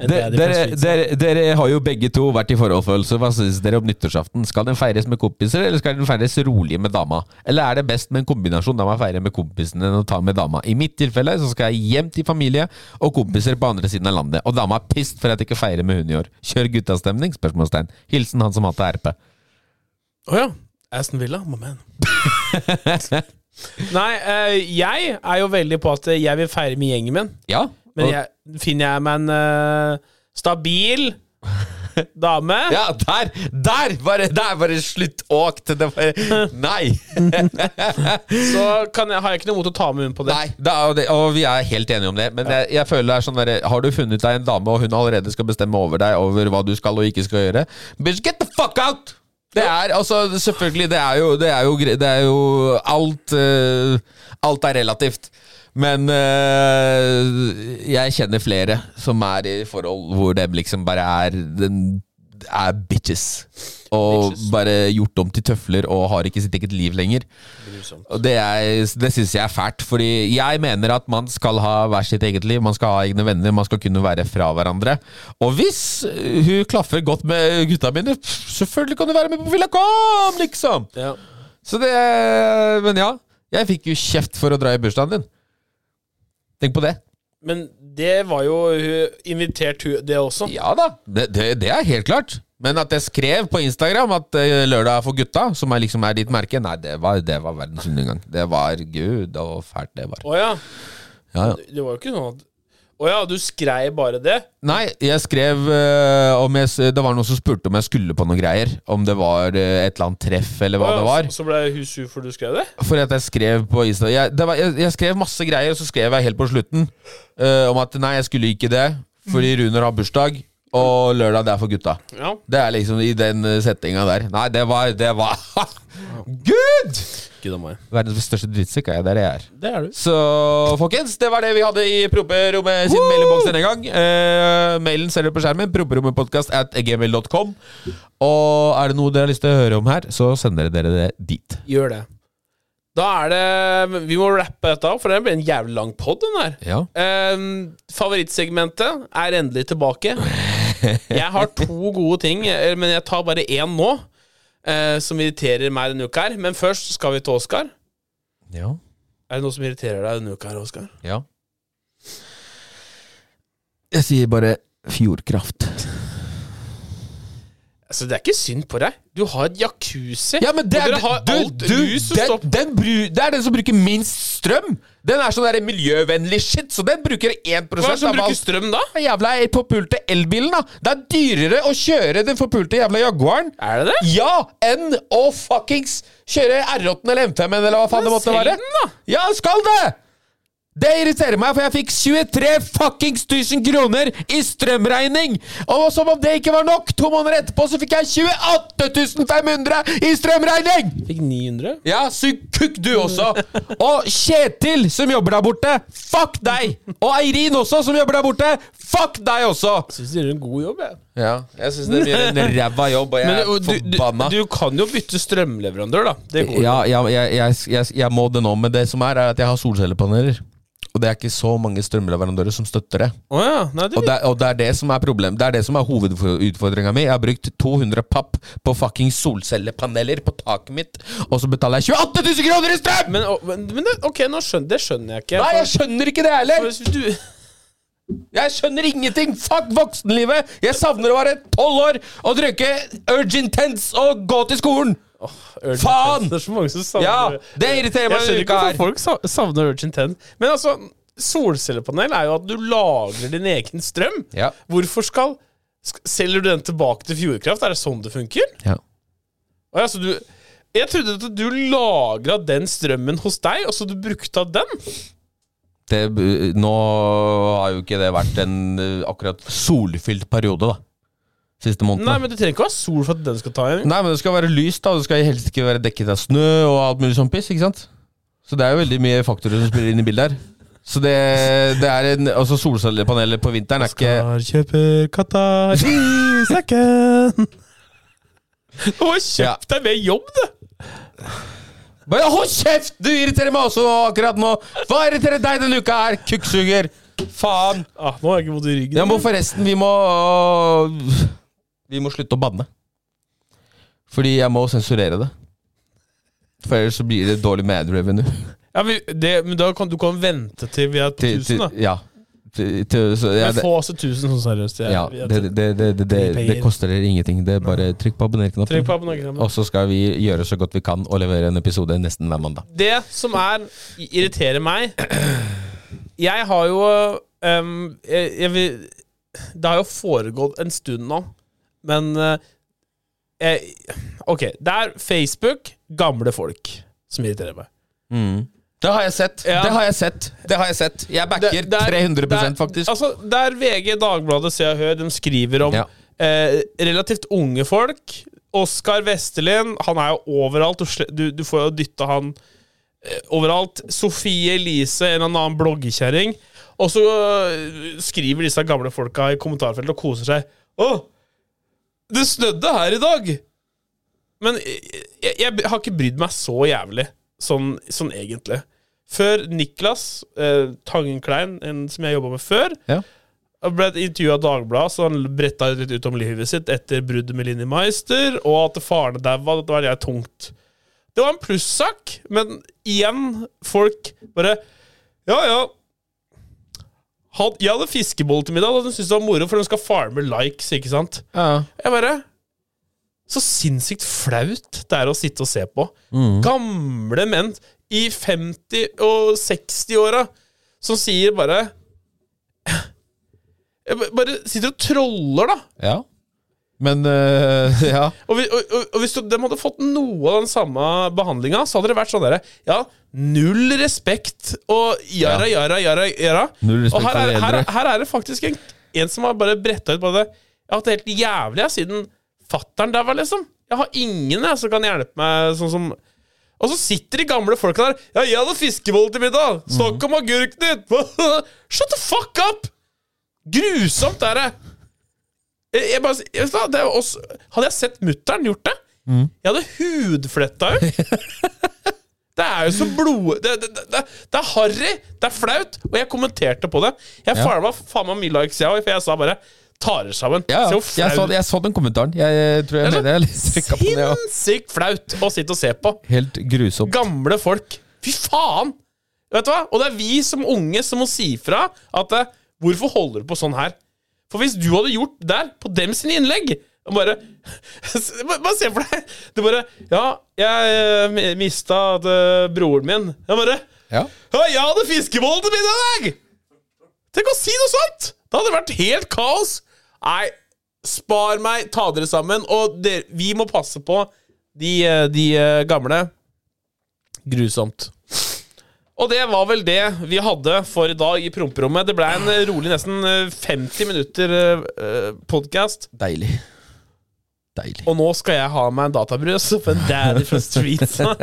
Speaker 4: En
Speaker 3: Dere,
Speaker 4: daddy fra
Speaker 3: dere,
Speaker 4: Sveits.
Speaker 3: dere, dere har jo begge to vært i forholdfølelse. Hva syns dere om nyttårsaften? Skal den feires med kompiser, eller skal den feires rolig med dama? Eller er det best med en kombinasjon der man feirer med kompisene enn å ta med dama? I mitt tilfelle så skal jeg hjem til familie og kompiser på andre siden av landet, og dama er pissed for at jeg ikke feirer med hun i år. Kjør guttastemning? Spørsmålstegn. Hilsen han som hater RP.
Speaker 4: Å ja. Aston Villa, my man. Nei, eh, jeg er jo veldig på at jeg vil feire med gjengen min.
Speaker 3: Ja.
Speaker 4: Men
Speaker 3: og-
Speaker 4: jeg, finner jeg meg en eh, stabil dame
Speaker 3: ja, der! Der var det der var det sluttåkt! Det var Nei!
Speaker 4: Så kan jeg, har jeg ikke noe mot å ta med hun på det.
Speaker 3: Nei, det er, jo det, og vi er helt enige om det. Men jeg, jeg føler det er sånn derre Har du funnet deg en dame, og hun allerede skal bestemme over deg over hva du skal og ikke skal gjøre, bitch, get the fuck out! Det er altså Selvfølgelig, det er jo Det er jo, gre- det er jo alt eh, Alt er relativt. Men eh, jeg kjenner flere som er i forhold hvor dem liksom bare er den, er bitches. Og bare gjort om til tøfler og har ikke sitt eget liv lenger. Og det, er- det syns jeg er fælt, fordi jeg mener at man skal ha hver sitt eget liv. Man skal ha egne venner, man skal kunne være fra hverandre. Og hvis øh, hun klaffer godt med gutta mine, pff, selvfølgelig kan du være med på Villa Kom, liksom!
Speaker 4: Ja.
Speaker 3: Så det Men ja, jeg fikk jo kjeft for å dra i bursdagen din. Tenk på det.
Speaker 4: Men det var jo hun invitert, hun, det også.
Speaker 3: Ja da, det, det, det er helt klart. Men at jeg skrev på Instagram at eh, lørdag er for gutta, som er liksom er ditt merke, nei, det var, det var verdens undergang. Det var gud og fælt det var.
Speaker 4: Å ja.
Speaker 3: Ja, ja.
Speaker 4: Det var jo ikke sånn at Å ja, du skrev bare det?
Speaker 3: Nei, jeg skrev eh, om jeg, s- Det var noen som spurte om jeg skulle på noen greier. Om det var eh, et eller annet treff, eller hva
Speaker 4: Å ja,
Speaker 3: det var.
Speaker 4: Så, så ble hun sur for du skrev det?
Speaker 3: For at jeg skrev på Insta jeg, det var, jeg, jeg skrev masse greier, og så skrev jeg helt på slutten eh, om at nei, jeg skulle ikke det, fordi Runar har bursdag, og lørdag det er for gutta.
Speaker 4: Ja.
Speaker 3: Det er liksom i den eh, settinga der. Nei, det var Det var Gud!
Speaker 4: Gud a meg.
Speaker 3: Verdens største drittsekk er jeg der jeg er.
Speaker 4: Det er du.
Speaker 3: Så folkens, det var det vi hadde i promperommet sin mailboks denne gang. Eh, mailen ser dere på skjermen. Promperommetpodkast at gmail.com. Og er det noe dere har lyst til å høre om her, så sender dere det dit.
Speaker 4: Gjør det. Da er det Vi må rappe dette av, for det blir en jævlig lang pod, den her.
Speaker 3: Ja.
Speaker 4: Ehm, favorittsegmentet er endelig tilbake. Jeg har to gode ting, eh, men jeg tar bare én nå. eh, som irriterer meg denne uka her. Men først skal vi til Oskar.
Speaker 3: Ja.
Speaker 4: Er det noe som irriterer deg denne uka her, Oskar?
Speaker 3: ja. Jeg sier bare Fjordkraft.
Speaker 4: Altså, det er ikke synd på deg. Du har et jacuzzi.
Speaker 3: Ja, men det
Speaker 4: og
Speaker 3: er,
Speaker 4: dere har
Speaker 3: du,
Speaker 4: alt
Speaker 3: du,
Speaker 4: rus og
Speaker 3: den,
Speaker 4: stopp.
Speaker 3: den bru, det er den som bruker minst strøm! Den er sånn der miljøvennlig shit, så den bruker 1
Speaker 4: Hva er det som
Speaker 3: av
Speaker 4: bruker
Speaker 3: alt.
Speaker 4: strøm da?
Speaker 3: Den jævla forpulte elbilen, da! Det er dyrere å kjøre den forpulte jævla Jaguaren
Speaker 4: Er det det?
Speaker 3: Ja, enn å fuckings kjøre R8 eller M5 eller hva faen det
Speaker 4: Men
Speaker 3: måtte
Speaker 4: selg
Speaker 3: være.
Speaker 4: den, da!
Speaker 3: Ja, skal det! Det irriterer meg, for jeg fikk 23 fuckings 1000 kroner i strømregning! Og som om det ikke var nok, to måneder etterpå så fikk jeg 28 500 i strømregning!
Speaker 4: Fikk 900.
Speaker 3: Ja, sug kukk du også! Og Kjetil, som jobber der borte, fuck deg! Og Eirin også, som jobber der borte, fuck deg også!
Speaker 4: Syns du gjør en god jobb, jeg.
Speaker 5: Ja, jeg syns dere gjør en ræva jobb, og jeg
Speaker 4: Men
Speaker 5: er
Speaker 4: du, du,
Speaker 5: forbanna.
Speaker 4: du kan jo bytte strømleverandør, da. Det går.
Speaker 3: Ja, jeg, jeg, jeg, jeg, jeg må det nå, men det som er, er at jeg har solcellepaneler. Og det er ikke så mange strømleverandører som støtter det.
Speaker 4: Å ja. Nei, det
Speaker 3: Og det, er- og det er det som er problem Det er det som er hovedutfordringa mi. Jeg har brukt 200 papp på fucking solcellepaneler på taket mitt, og så betaler jeg 28 000 kroner i strøm!
Speaker 4: Men, å, men, men det, ok, nå skjønner, det skjønner jeg ikke.
Speaker 3: Nei, jeg skjønner ikke det heller!
Speaker 4: For hvis du,
Speaker 3: Jeg skjønner ingenting! Fuck voksenlivet! Jeg savner å være tolv år og drikke Urgent Tense og gå til skolen! Faen!
Speaker 4: Det er så mange som savner
Speaker 3: Ja, det irriterer
Speaker 4: Jeg
Speaker 3: meg
Speaker 4: skjønner
Speaker 3: denne uka
Speaker 4: ikke hvorfor
Speaker 3: her.
Speaker 4: folk sa- savner Urgent 10. Men altså, solcellepanel er jo at du lagrer din egen strøm.
Speaker 3: Ja.
Speaker 4: Hvorfor skal sk- Selger du den tilbake til Fjordkraft? Er det sånn det funker?
Speaker 3: Ja.
Speaker 4: Å, ja, så du, jeg trodde at du lagra den strømmen hos deg, og så du brukte av den.
Speaker 3: Det, nå har jo ikke det vært en eh, akkurat solfylt periode, da. Siste måneden.
Speaker 4: Nei, men Du trenger ikke å ha sol for at den skal ta igjen.
Speaker 3: Nei, men det skal være lyst, da. og Det skal helst ikke være dekket av snø og alt mulig sånn piss. ikke sant? Så det er jo veldig mye faktorer som spiller inn i bildet her. Så det, det er en Altså, solcellepaneler på vinteren er ikke
Speaker 4: kjøper katta i sekken. Du har kjøpt
Speaker 3: Ja.
Speaker 4: deg med jobb, du!
Speaker 3: Bare Hold kjeft! Du irriterer meg også akkurat nå. Hva irriterer deg denne uka her, kukksuger? Faen.
Speaker 4: Ah, nå har jeg ikke vondt i ryggen.
Speaker 3: Ja, men forresten, vi må Vi må slutte å banne. Fordi jeg må sensurere det. For ellers så blir det dårlig mad revenue.
Speaker 4: Ja, men, det, men da kan du kan vente til vi er på
Speaker 3: Til,
Speaker 4: 1000,
Speaker 3: til,
Speaker 4: da.
Speaker 3: ja. Til, til, så, ja,
Speaker 4: Men
Speaker 3: det,
Speaker 4: få også 1000 sånn seriøst. Jeg,
Speaker 3: ja
Speaker 4: jeg,
Speaker 3: det, det, det, det, det, det koster dere ingenting. Det er bare trykk på
Speaker 4: Trykk på
Speaker 3: abonner-knappen.
Speaker 4: abonnementknappen.
Speaker 3: Og så skal vi gjøre så godt vi kan og levere en episode nesten hver mandag.
Speaker 4: Det som er irriterer meg Jeg har jo ehm, jeg, jeg vil, Det har jo foregått en stund nå, men eh, jeg, OK. Det er Facebook, gamle folk, som irriterer meg.
Speaker 3: Det har jeg sett!
Speaker 4: Ja.
Speaker 3: Det har jeg sett! Det har jeg sett Jeg backer
Speaker 4: Det- det er-
Speaker 3: 300
Speaker 4: det er-
Speaker 3: faktisk.
Speaker 4: Altså, der VG, Dagbladet, Se og Hør, de skriver om
Speaker 3: Ja.
Speaker 4: eh, relativt unge folk. Oskar Vestelin, han er jo overalt. Du, sle- du, du får jo dytta han eh, overalt. Sofie Elise, en eller annen bloggekjerring. Og så eh, skriver disse gamle folka i kommentarfeltet og koser seg. Å, det snødde her i dag! Men jeg, jeg, jeg har ikke brydd meg så jævlig, sånn, sånn egentlig. Før Niklas eh, Tangenklein, en som jeg jobba med før,
Speaker 3: Ja.
Speaker 4: han ble intervjua av Dagbladet, så han bretta litt ut om livet sitt etter bruddet med Linni Meister, og at faren daua. Det var det tungt. Det var en plussak, men igjen, folk bare Ja, ja. Han, jeg hadde fiskebolle til middag, og de syntes det var moro, for de skal farme likes, ikke sant? Jeg bare Så sinnssykt flaut det er å sitte og se på. Gamle menn i 50- og 60-åra som sier bare Jeg ba- Bare sitter og troller, da.
Speaker 3: Ja. Men øh, Ja.
Speaker 4: Og, vi, og, og, og hvis de hadde fått noe av den samme behandlinga, så hadde det vært sånn derre Ja, null respekt og jara, jara, jara, jara.
Speaker 3: Null respekt
Speaker 4: og
Speaker 3: for
Speaker 4: her er,
Speaker 3: de
Speaker 4: her,
Speaker 3: eldre.
Speaker 4: her er det faktisk en, en som har bare bretta ut på det. Jeg har hatt det helt jævlig jeg, siden fattern daua, liksom. Jeg har ingen jeg, som kan hjelpe meg sånn som og så sitter de gamle folka der. Ja, jeg hadde fiskebolle til middag. Snakk
Speaker 3: Mhm.
Speaker 4: om agurken din! Shut the fuck up! Grusomt er det. Jeg, jeg bare, jeg, vet du hva, det er jo også, hadde jeg sett mutter'n gjort det,
Speaker 3: Mm.
Speaker 4: jeg hadde hudfletta ut. det er jo så blod... Det, det, det, det, det er harry, det er flaut, og jeg kommenterte på det. Jeg farma faen meg mye likes, jeg òg, for jeg sa bare Tar det sammen.
Speaker 3: Ja, ja. Jeg,
Speaker 4: Se hvor
Speaker 3: så,
Speaker 4: flaut-
Speaker 3: jeg så den kommentaren. Jeg, jeg tror jeg
Speaker 4: Det er
Speaker 3: mener jeg trykka på den. Ja.
Speaker 4: Sinnssykt flaut å sitte og se på.
Speaker 3: Helt grusomt.
Speaker 4: Gamle folk. Fy faen! Vet du hva? Og det er vi som unge som må si fra at eh, hvorfor holder du på sånn her? For hvis du hadde gjort der, på dem sine innlegg og bare, bare se for deg Du bare Ja, jeg eh, mista eh, broren min. Jeg bare
Speaker 3: Ja.
Speaker 4: Ja, jeg hadde fiskebolle til middag i dag! Tenk å si noe sånt! Det hadde vært helt kaos. Nei, spar meg, ta dere sammen. Og dere, vi må passe på de, eh, de eh, gamle. Grusomt. Og det var vel det vi hadde for i dag i promperommet. Det ble en eh, rolig nesten eh, 50 minutter eh, podkast.
Speaker 3: Deilig. Deilig.
Speaker 4: Og nå skal jeg ha meg en databrus for en daddy fra streetsa.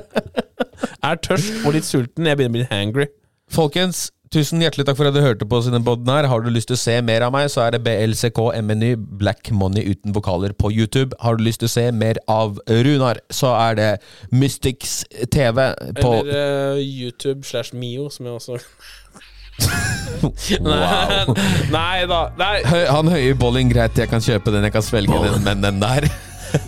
Speaker 4: er tørst og litt sulten. Jeg begynner å bli hangry.
Speaker 3: Folkens, Tusen hjertelig takk for at du hørte på oss i denne podden her. Har du lyst til å se mer av meg, så er det BLCK-MNY Black Money uten vokaler på YouTube. Har du lyst til å se mer av Runar, så er det Mystics TV på
Speaker 4: Eller eh, YouTube slash Mio, som jeg også
Speaker 3: Wow.
Speaker 4: Nei da. Nei.
Speaker 3: Hø han høye i bowling, greit, jeg kan kjøpe den, jeg kan svelge den, men den der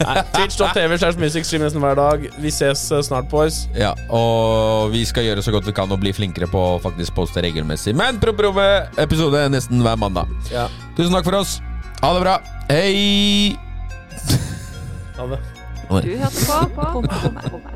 Speaker 4: Nei. Twitch.tv slash music stream nesten hver dag. Vi ses eh, snart, boys.
Speaker 3: Ja, og vi skal gjøre så godt vi kan og bli flinkere på å faktisk poste regelmessig. Men Promperommet episode nesten hver mandag.
Speaker 4: Ja.
Speaker 3: Tusen takk for oss. Ha det bra. Hei!
Speaker 4: Ha det.
Speaker 6: Du hørte på Promperommet.